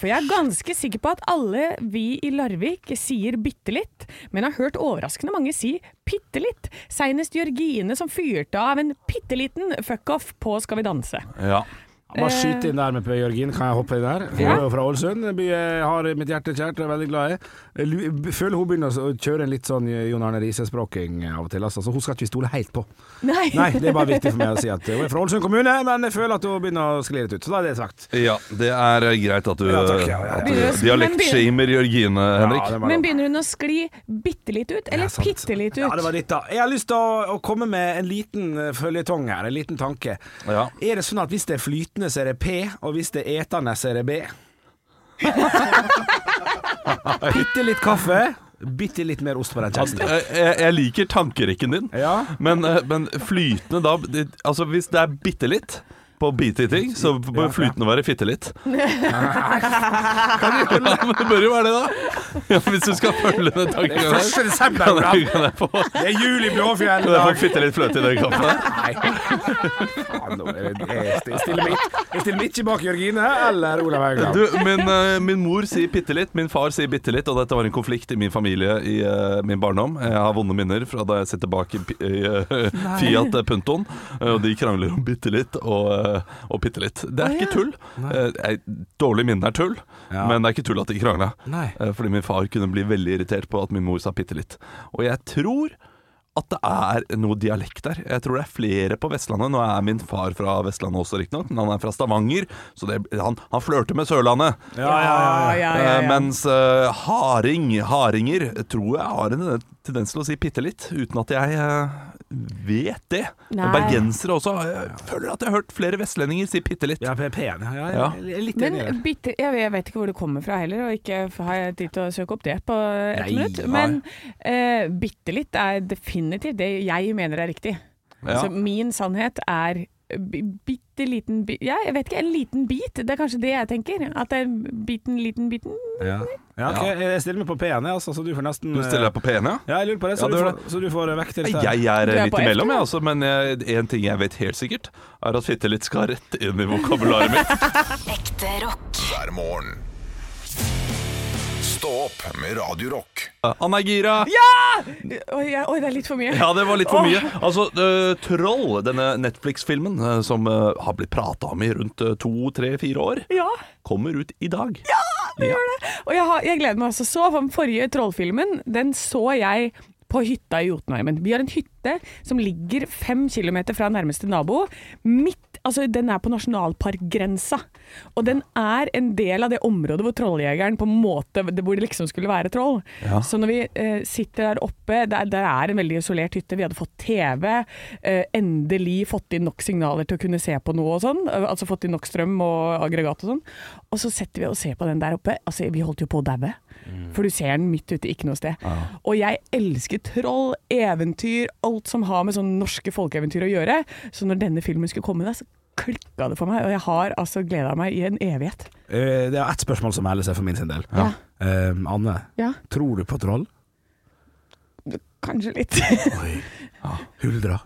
S5: For jeg er ganske sikker på at alle vi i Larvik sier bitte litt, men har hørt overraskende mange si bitte litt. Seinest Jørgine som fyrte av en bitte liten fuckoff på Skal vi danse.
S4: Ja.
S3: Bare skyt inn der med Per Jørgen, kan jeg hoppe inn der? Hun
S5: Eh. Ja.
S3: er jo fra Ålesund, en by jeg har i mitt hjerte kjært og er veldig glad i. Jeg lu- Føler hun begynner å kjøre en litt sånn Jon Arne Riise-språking av og til, altså. Så hun skal ikke vi stole helt på.
S5: Nei.
S3: Nei, det er bare viktig for meg å si at hun er fra Ålesund kommune, men jeg føler at hun begynner å skli litt ut. Så da er det sagt.
S4: Ja, det er eh, greit at du,
S3: Ja, takk, ja, ja,
S4: at
S5: ja.
S4: du dialektshamer Jørgine, Henrik.
S3: Ja, det var
S5: Men
S3: lov.
S5: begynner hun å skli bitte litt ut, eller
S3: sant.
S5: bitte litt ut?
S3: Ja, det var ditt, da. Jeg har lyst til å, å komme med en liten eh, føljetong her, en liten tanke.
S4: Ja.
S3: Er det sånn at hvis det er flytende, så er det P, og hvis det er etende, så er det B? bitte litt kaffe, bitte litt mer ost på den
S4: At,
S3: kjeksen.
S4: eh, jeg, jeg liker tankerekken din,
S3: Ja.
S4: men, eh, men flytende da det- Altså, hvis det er bitte litt på bite i ting, så bør flytende være fitte litt. Ja, men det bør jo være det, da. Ja, hvis du skal følge den tanken
S3: Det er første
S4: der.
S3: desember,
S4: Kan
S3: Olav.
S4: jeg, kan jeg få, kan
S3: Det er jul i Blåfjell i
S4: jeg få
S3: dag.
S4: fitte litt fløte i den kaffen? der?
S3: Nei. Faen, nå er det- Jeg jeg stiller meg ikke- jeg stiller meg ikke bak Jørgine eller Olav Haugland.
S4: Du, min, eh, min mor sier bitte litt, min far sier bitte litt, og dette var en konflikt i min familie i eh, min barndom. Jeg har vonde minner fra da jeg sitter bak i, pi- i eh, Fiat Puntoen, eh, og de krangler om bitte litt og, uh, og bitte litt. Det er ikke tull. Eh, eh, dårlige minner er tull,
S3: Ja.
S4: men det er ikke tull at de krangla.
S3: Nei.
S4: Eh, fordi min far kunne bli veldig irritert på at min mor sa bitte litt. Og jeg tror at det er noe dialekt der. Jeg tror det er flere på Vestlandet. Nå er min far fra Vestlandet også, riktignok, men han er fra Stavanger, så det, han, han flørter med Sørlandet.
S5: ja, ja, ja,
S4: Eh,
S5: ja.
S4: mens eh, harding, hardinger, tror jeg har en tendens til å si bitte litt, uten at jeg eh, vet det.
S5: Nei.
S4: Bergensere også. Jeg føler at jeg har hørt flere vestlendinger si bitte litt.
S3: Ja, P-en. Ja, jeg-
S4: Ja.
S3: jeg er litt enig i det.
S5: Men bitte, jeg, jeg vet ikke hvor det kommer fra heller, og ikke har jeg tid til å søke opp det på et
S3: Nei, nei.
S5: minutt. Men eh, bitte litt er definitivt det jeg mener er riktig.
S4: Ja.
S5: Så min sannhet er bi- bitte liten bi- ja, Jeg vet ikke, en liten bit. Det er kanskje det jeg tenker. At det er biten, liten, biten.
S3: Ja. Ja, ok, Jeg stiller meg på P-en, jeg, altså, så du får nesten
S4: Du stiller deg på P1, ja?
S3: Ja, jeg lurer på det, så,
S4: Ja, det
S3: du,
S4: gjør
S3: får, så du får vekter i
S4: Jeg er
S5: Du er
S4: midt
S5: på F,
S4: imellom,
S5: du.
S4: jeg, altså, men én ting jeg vet helt sikkert, er at fitte litt skal rett inn i vokabularet mitt.
S6: Ekte rock.
S2: Hver morgen. Stå opp med Radio Rock.
S4: Anna er gira! Ja!
S5: Oi, jeg, oi, det er litt for mye.
S4: det var litt for mye. Altså, eh, Troll, denne Netflix-filmen eh, som eh, har blitt prata om i rundt eh, to, tre, fire år,
S5: Ja.
S4: kommer ut i dag. Ja, det gjør det!
S5: Og jeg, har, jeg gleder meg også så, for den forrige trollfilmen, den så jeg på hytta i Jotunheimen. Vi har en hytte som ligger fem kilometer fra nærmeste nabo. Midt, altså Den er på nasjonalparkgrensa. Og den er en del av det området hvor trolljegeren på en måte Hvor det liksom skulle være troll. Så når vi eh, sitter der oppe der, der er en veldig isolert hytte. Vi hadde fått TV. Eh, endelig fått inn nok signaler til å kunne se på noe og sånn. eh, Altså fått inn nok strøm og aggregat og sånn. Og så setter vi og ser på den der oppe. Altså, vi holdt jo på å daue. For du ser den midt ute, ikke noe sted. Og jeg elsker troll, eventyr, alt som har med sånne norske folkeeventyr å gjøre. Så når denne filmen skulle komme, da, så klikka det for meg. Og jeg har altså gleda meg i en evighet.
S3: Eh, Det er ett spørsmål som melder seg for min sin del.
S5: Ja.
S3: Eh, Anne,
S5: Ja,
S3: tror du på troll?
S5: kanskje litt.
S3: Huldra.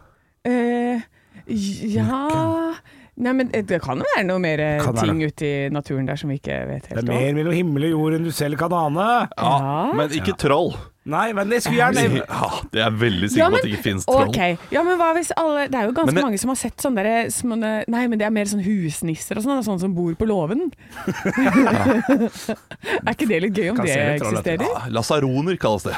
S5: Eh, ja Nei, men det kan jo være noe mer eh,
S3: Kan være
S5: ting ute i naturen der som vi ikke vet
S3: Det
S5: helt
S3: er mer mellom himmel og jord enn du selv kan ane.
S4: Ja,
S5: Ja.
S4: Men ikke troll.
S3: Nei, men jeg skulle gjerne
S4: Ja, det er veldig sikker
S5: Ja,
S4: på
S5: men-
S4: at det ikke finnes troll.
S5: ok. Ja, men hva hvis alle Det er jo ganske
S4: Men det-
S5: mange som har sett sånne der, eh, små- Nei, men det er mer sånn husnisser og sånn. Sånne som bor på låven. er ikke det litt gøy om
S3: Kan
S5: det
S3: se litt troll etter.
S5: eksisterer?
S4: Ja, Lasaroner kalles det.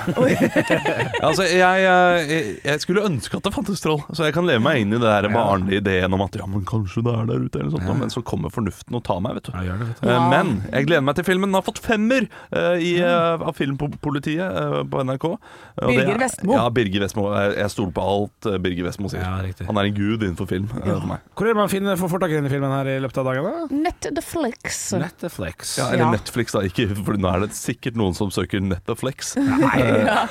S4: altså, jeg, eh, jeg, jeg skulle ønske at det fantes troll, så jeg kan leve meg inn i det der barnlige ideen om at ja, men kanskje det er der ute, eller noe sånt, men så kommer fornuften og tar meg, vet du.
S3: gjør det, vet
S4: Eh, Men jeg gleder meg til filmen. Den har fått femmer eh, i, eh, av Filmpolitiet eh, på NRK. Og det
S5: Birger
S4: er-
S5: Vestmo.
S4: Ja, Birger Vestmo. Jeg, jeg stoler på alt eh, Birger Vestmo sier.
S3: Ja, riktig.
S4: Han er en gud innenfor film. eh, for meg.
S3: Hvor er det man finner får tak i denne filmen her i løpet av dagen?
S5: Nett the flex.
S3: da? Netflix.
S4: Ja, eller
S5: Ja.
S4: Netflix, da. Ikke, for nå er det sikkert noen som søker Netflix.
S5: Ja,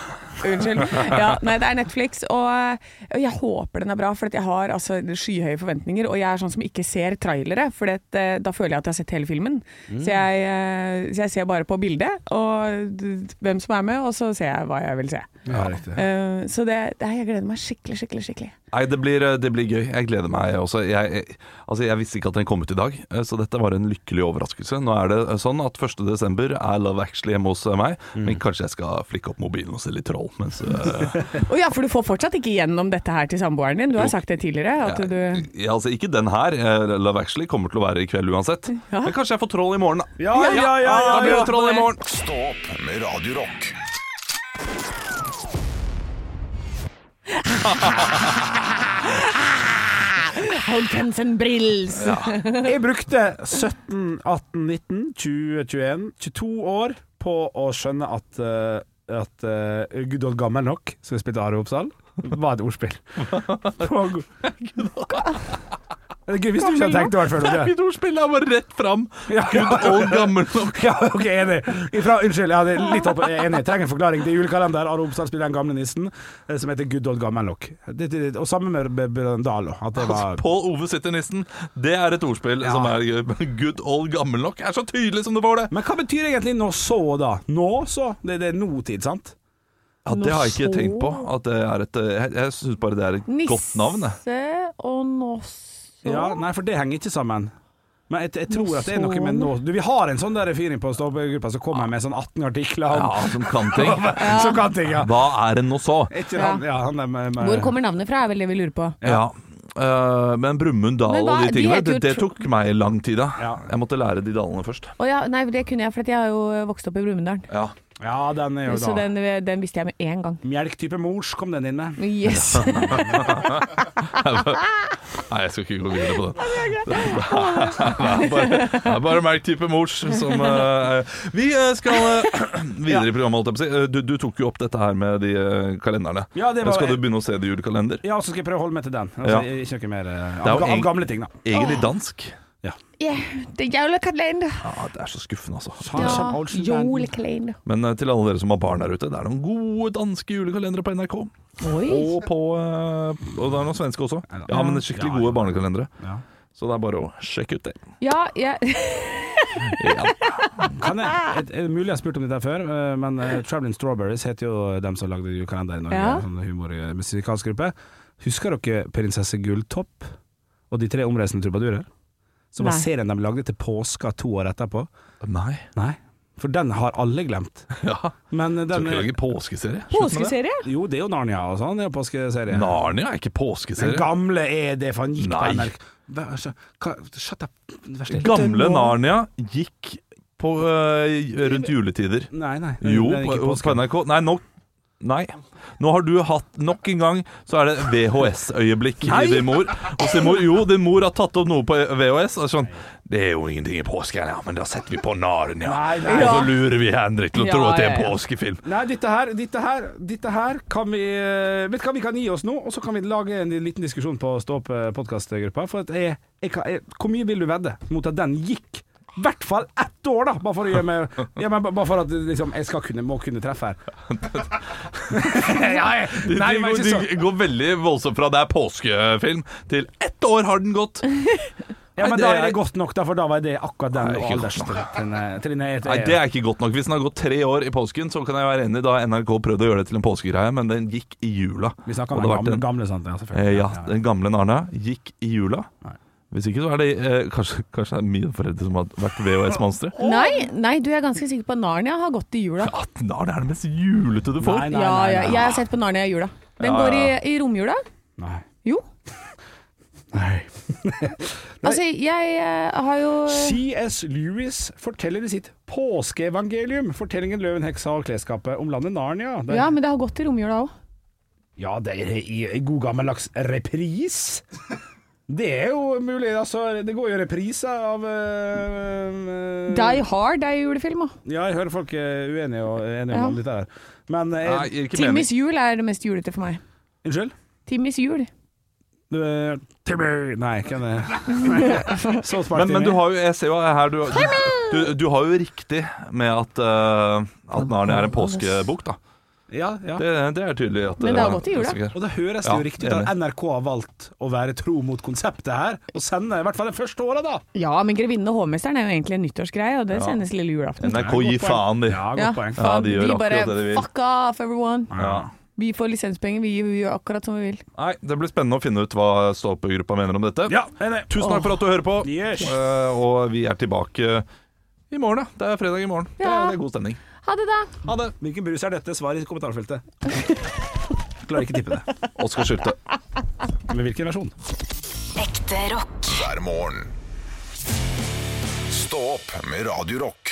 S5: unnskyld. Ja, nei, det er Netflix, og, og jeg håper den er bra, for at jeg har altså, skyhøye forventninger. Og jeg er sånn som ikke ser trailere, for at, eh, da føler jeg at jeg har sett hele filmen.
S4: Mm.
S5: Så, jeg, eh, så jeg ser bare på bildet, og d- hvem som er med, og så ser jeg hva jeg vil se.
S3: Ja, riktig.
S5: Eh, så det, det, jeg gleder meg skikkelig, skikkelig, skikkelig.
S4: Nei, det blir, eh, det blir gøy. Jeg gleder meg også. Jeg, jeg, altså, jeg visste ikke at den kom ut i dag, eh, så dette var en lykkelig overraskelse. Nå er det eh, sånn at 1. desember er Love Actually hjemme hos eh, meg,
S3: Mm.
S4: men kanskje jeg skal flikke opp mobilen og se litt troll mens eh,
S5: Å ja, for du får fortsatt ikke gjennom dette her til samboeren din. Du har sagt det tidligere. At
S4: jeg,
S5: du,
S4: ja, altså, Ikke den her. eh, Love Actually kommer til å være i kveld uansett.
S5: Ja.
S4: Men kanskje jeg får troll i morgen, da.
S3: Ja, ja, ja, ja,
S4: da blir
S3: ja.
S4: det troll i morgen.
S2: Stå opp med Radio Rock.
S5: Holkensen Brills!
S3: Jeg brukte 17, 18, 19, 20, 21, 22 år på å skjønne at eh, at eh, Gud og gammel nok, som vi spilte Are Oppsal, var et ordspill. På Gud Gud, Hvis du ikke hadde tenkt over det før.
S4: Det er
S3: Ole.
S4: mitt ordspill, det er bare rett fram.
S3: Ja,
S4: Good old gammel nok.
S3: ja, ok, enig. Ifra, unnskyld, jeg hadde litt opp, jeg er enig. Jeg trenger en forklaring. Det er julekalender. Are Oppsal spiller den gamle nissen eh, som heter Good old gammel nok. Det, det, det, og sammen med B- B- Dahl også, At det var
S4: Pål Ove sitter nissen. Det er et ordspill
S3: Ja.
S4: som er gøy. good old gammel nok. Er så tydelig som det var det.
S3: Men hva betyr egentlig 'nå så', da? Nå så? Det, det er nåtid, sant?
S4: Ja, Det har jeg
S5: Noe
S4: ikke
S5: så-
S4: tenkt på. At det er et, eh, jeg jeg syns bare det er et godt navn. jeg.
S5: Nisse og Nosso.
S3: Ja, nei, for det henger ikke sammen. Men jeg, jeg tror at det er noe med
S5: Sånn.
S3: nå Du, Vi har en sånn der fyring på ståpegruppa som kommer med sånn 18 artikler om
S4: Ja, Som kan ting.
S3: Så kan ting, ja.
S4: Hva er en nå så?
S3: Er Ikke han, ja, han der med, med
S5: Hvor kommer navnet fra, er vel det vi lurer på.
S4: Ja. eh, men Brumund Dal
S5: Men hva-
S4: og de
S5: de
S4: tingene,
S5: heter jo
S4: det, det
S5: tro-
S4: tok meg lang tid. da
S3: Ja.
S4: Jeg måtte lære de dalene først.
S5: Å ja, nei, det kunne jeg, for at jeg har jo eh, vokst opp i Brumunddal.
S4: Ja.
S3: Ja, den er jo
S5: Så
S3: da
S5: den, eh, den visste jeg med en gang.
S3: Melktype mors kom den inn med.
S5: Yes!
S4: Nei, jeg skal ikke gå videre på det. Det er bare, det er bare merk type mors som eh, Vi eh, skal eh, videre i programmet, holdt jeg på å si. Eh, Du, du tok jo opp dette her med de eh, kalenderne.
S3: Ja, det var-
S4: skal du begynne å se det i julekalender?
S3: Ja, så skal jeg prøve å holde meg til den. Altså,
S4: Ja.
S3: Ikke noe mer eh,
S4: Det er jo
S3: av, ga-
S4: eng-
S3: av gamle ting, da.
S4: Egentlig dansk.
S5: yeah, det er julekalender.
S4: Ja, Det er så skuffende, altså.
S3: Ta en sånn old school band.
S5: julekalender.
S4: Men eh, til alle dere som har barn der ute, det er noen gode danske julekalendere på NRK.
S5: Oi.
S4: Og på eh, Og det er noen svenske også. Ja, men det er skikkelig gode barnekalendere.
S3: Ja.
S4: Så det er bare å sjekke ut det.
S5: Ja, jeg,
S4: Ja.
S3: Kan jeg, et, er det mulig jeg har spurt om dette før, eh, men eh, Traveling Strawberries heter jo dem som lagde julekalender i Norge.
S5: Ja.
S3: Sånn humormusikalsk gruppe. Husker dere Prinsesse Gulltopp og de tre omreisende trubadurer? Som var
S5: Nei.
S3: serien de lagde til påska to år etterpå.
S4: Nei.
S3: Nei, for den har alle glemt.
S4: Ja.
S3: Men eh,
S4: Skal
S3: den eh,
S4: ikke lage påskeserie? Slutt med det.
S5: påskeserie?
S3: Jo, det er jo Narnia og sånn, det er jo påskeserie.
S4: Narnia er ikke
S3: Den
S4: påskeserie.
S3: gamle er det, for han gikk
S4: Nei.
S3: på NRK. Hva- altså, hva- Shut up. Vær stille.
S4: Gamle Narnia gikk på, eh, rundt juletider.
S3: Nei, nei. den-
S4: Jo,
S3: den gikk i
S4: på, på
S3: påsken.
S4: NRK. Nei, nå Nei. Nå har du hatt Nok en gang så er det VHS-øyeblikk i
S3: Nei.
S4: din mor. Og sin mor jo, din mor har tatt opp noe på VHS. Og sånn Det er jo ingenting i påsken, ja, men da setter vi på Narnia.
S3: Nei, nei.
S4: Og så lurer vi Henrik til å
S5: Ja,
S4: tro at det
S5: ja,
S4: er
S5: ja.
S4: en påskefilm.
S3: Nei, dette her, dette her, dette her kan vi eh, Vet du hva, vi kan gi oss nå, og så kan vi lage en liten diskusjon på Stå opp eh, podcastgruppa. For at jeg, jeg, kan- jeg, hvor mye vil du vedde mot at den gikk? I hvert fall ett år, da! Bare for, å gjøre meg, ja, men bare for at liksom, jeg skal kunne, må kunne treffe her. ja, jeg,
S4: De,
S3: nei,
S4: de,
S3: men ikke
S4: de,
S3: sånn.
S4: går veldig voldsomt fra det er påskefilm til ett år har den gått.
S3: Ja,
S4: Nei,
S3: men
S4: det
S3: da er
S4: er-
S3: det godt nok, da, for da var det akkurat den eh,
S4: Nei, ikke godt nok.
S3: alderstrinnet.
S4: Nei, det er ikke godt nok. Hvis den har gått tre år i påsken, så kan jeg være enig. Da har NRK prøvde å gjøre det til en påskegreie, men den gikk i jula.
S3: Vi snakker om
S4: Og det
S3: den
S4: har vært
S3: gamle,
S4: en-
S3: gamle sant? Ja,
S4: Eh,
S3: selvfølgelig.
S4: ja, den gamle Narnia gikk i jula.
S3: Nei.
S4: Hvis ikke så er det eh, kanskje, kanskje det er mine foreldre som har vært VHS-monstre.
S5: Nei, nei, du jeg er ganske sikker på at Narnia har gått i jula.
S4: Ja, det er det mest julete du får.
S3: Nei, nei,
S5: Ja, ja,
S3: nei,
S5: jeg har sett på Narnia i jula. Den
S4: Ja,
S5: går i,
S4: ja.
S5: i romjula.
S3: nei.
S5: Jo.
S3: nei.
S5: Altså, jeg eh, har jo
S3: C.S. Lewis forteller i sitt påskeevangelium fortellingen 'Løven, heksa og klesskapet' om landet Narnia. Det,
S5: Ja, men det har gått i romjula òg.
S3: ja, det er i, i god gammeldags repris. Det er jo mulig, altså. Det går jo repriser av
S4: Eh.
S3: øh, øh,
S5: Die Hard er jo julefilm òg.
S3: Ja, jeg hører folk er uenige og enige
S5: Ja.
S3: om dette her. Men eh,
S4: Nei, gir ikke mening.
S5: Timmys jul er det mest julete for meg.
S3: Unnskyld?
S5: Timmys jul.
S3: Du, eh, Timmy Nei, eh, hvem er det? South Park
S4: Men, men
S3: Timmy.
S4: du har jo, jeg ser jo her du, du, du, du har jo riktig med at, eh, at Narnia er en påskebok, da.
S3: Ja, ja.
S4: Det, det er tydelig at
S5: Men det har
S4: eh,
S5: gått i jula.
S4: det er sikkert.
S3: Og det høres
S4: Ja,
S3: jo riktig ut at
S4: enig.
S3: NRK har valgt å være tro mot konseptet her, og sende i hvert fall det første året, da.
S5: Ja, men 'Grevinnen og hovmesteren' er jo egentlig en nyttårsgreie, og det sendes lille julaften.
S4: NRK gir faen, de.
S3: Ja,
S5: Ja.
S3: godt poeng.
S4: Ja, de gjør
S5: vi bare
S4: akkurat det de vil.
S5: fuck off, everyone.
S4: Ja.
S5: Vi får lisenspenger, vi vi gjør akkurat som vi vil.
S4: Nei, det blir spennende å finne ut hva stå-opp-gruppa mener om dette.
S3: Ja, enig.
S4: Tusen takk for at du hører på,
S3: Yes.
S4: Eh, og vi er tilbake i morgen, da. Det er fredag i morgen. Det,
S5: Ja.
S4: er, det er god stemning.
S5: Ha det, da.
S3: Ha det. Hvilken brus er dette? Svar i kommentarfeltet. Klarer ikke tippe det.
S4: Oskar Sylte.
S3: Men hvilken versjon?
S6: Ekte rock.
S2: hver morgen. Stå opp med Radio Rock.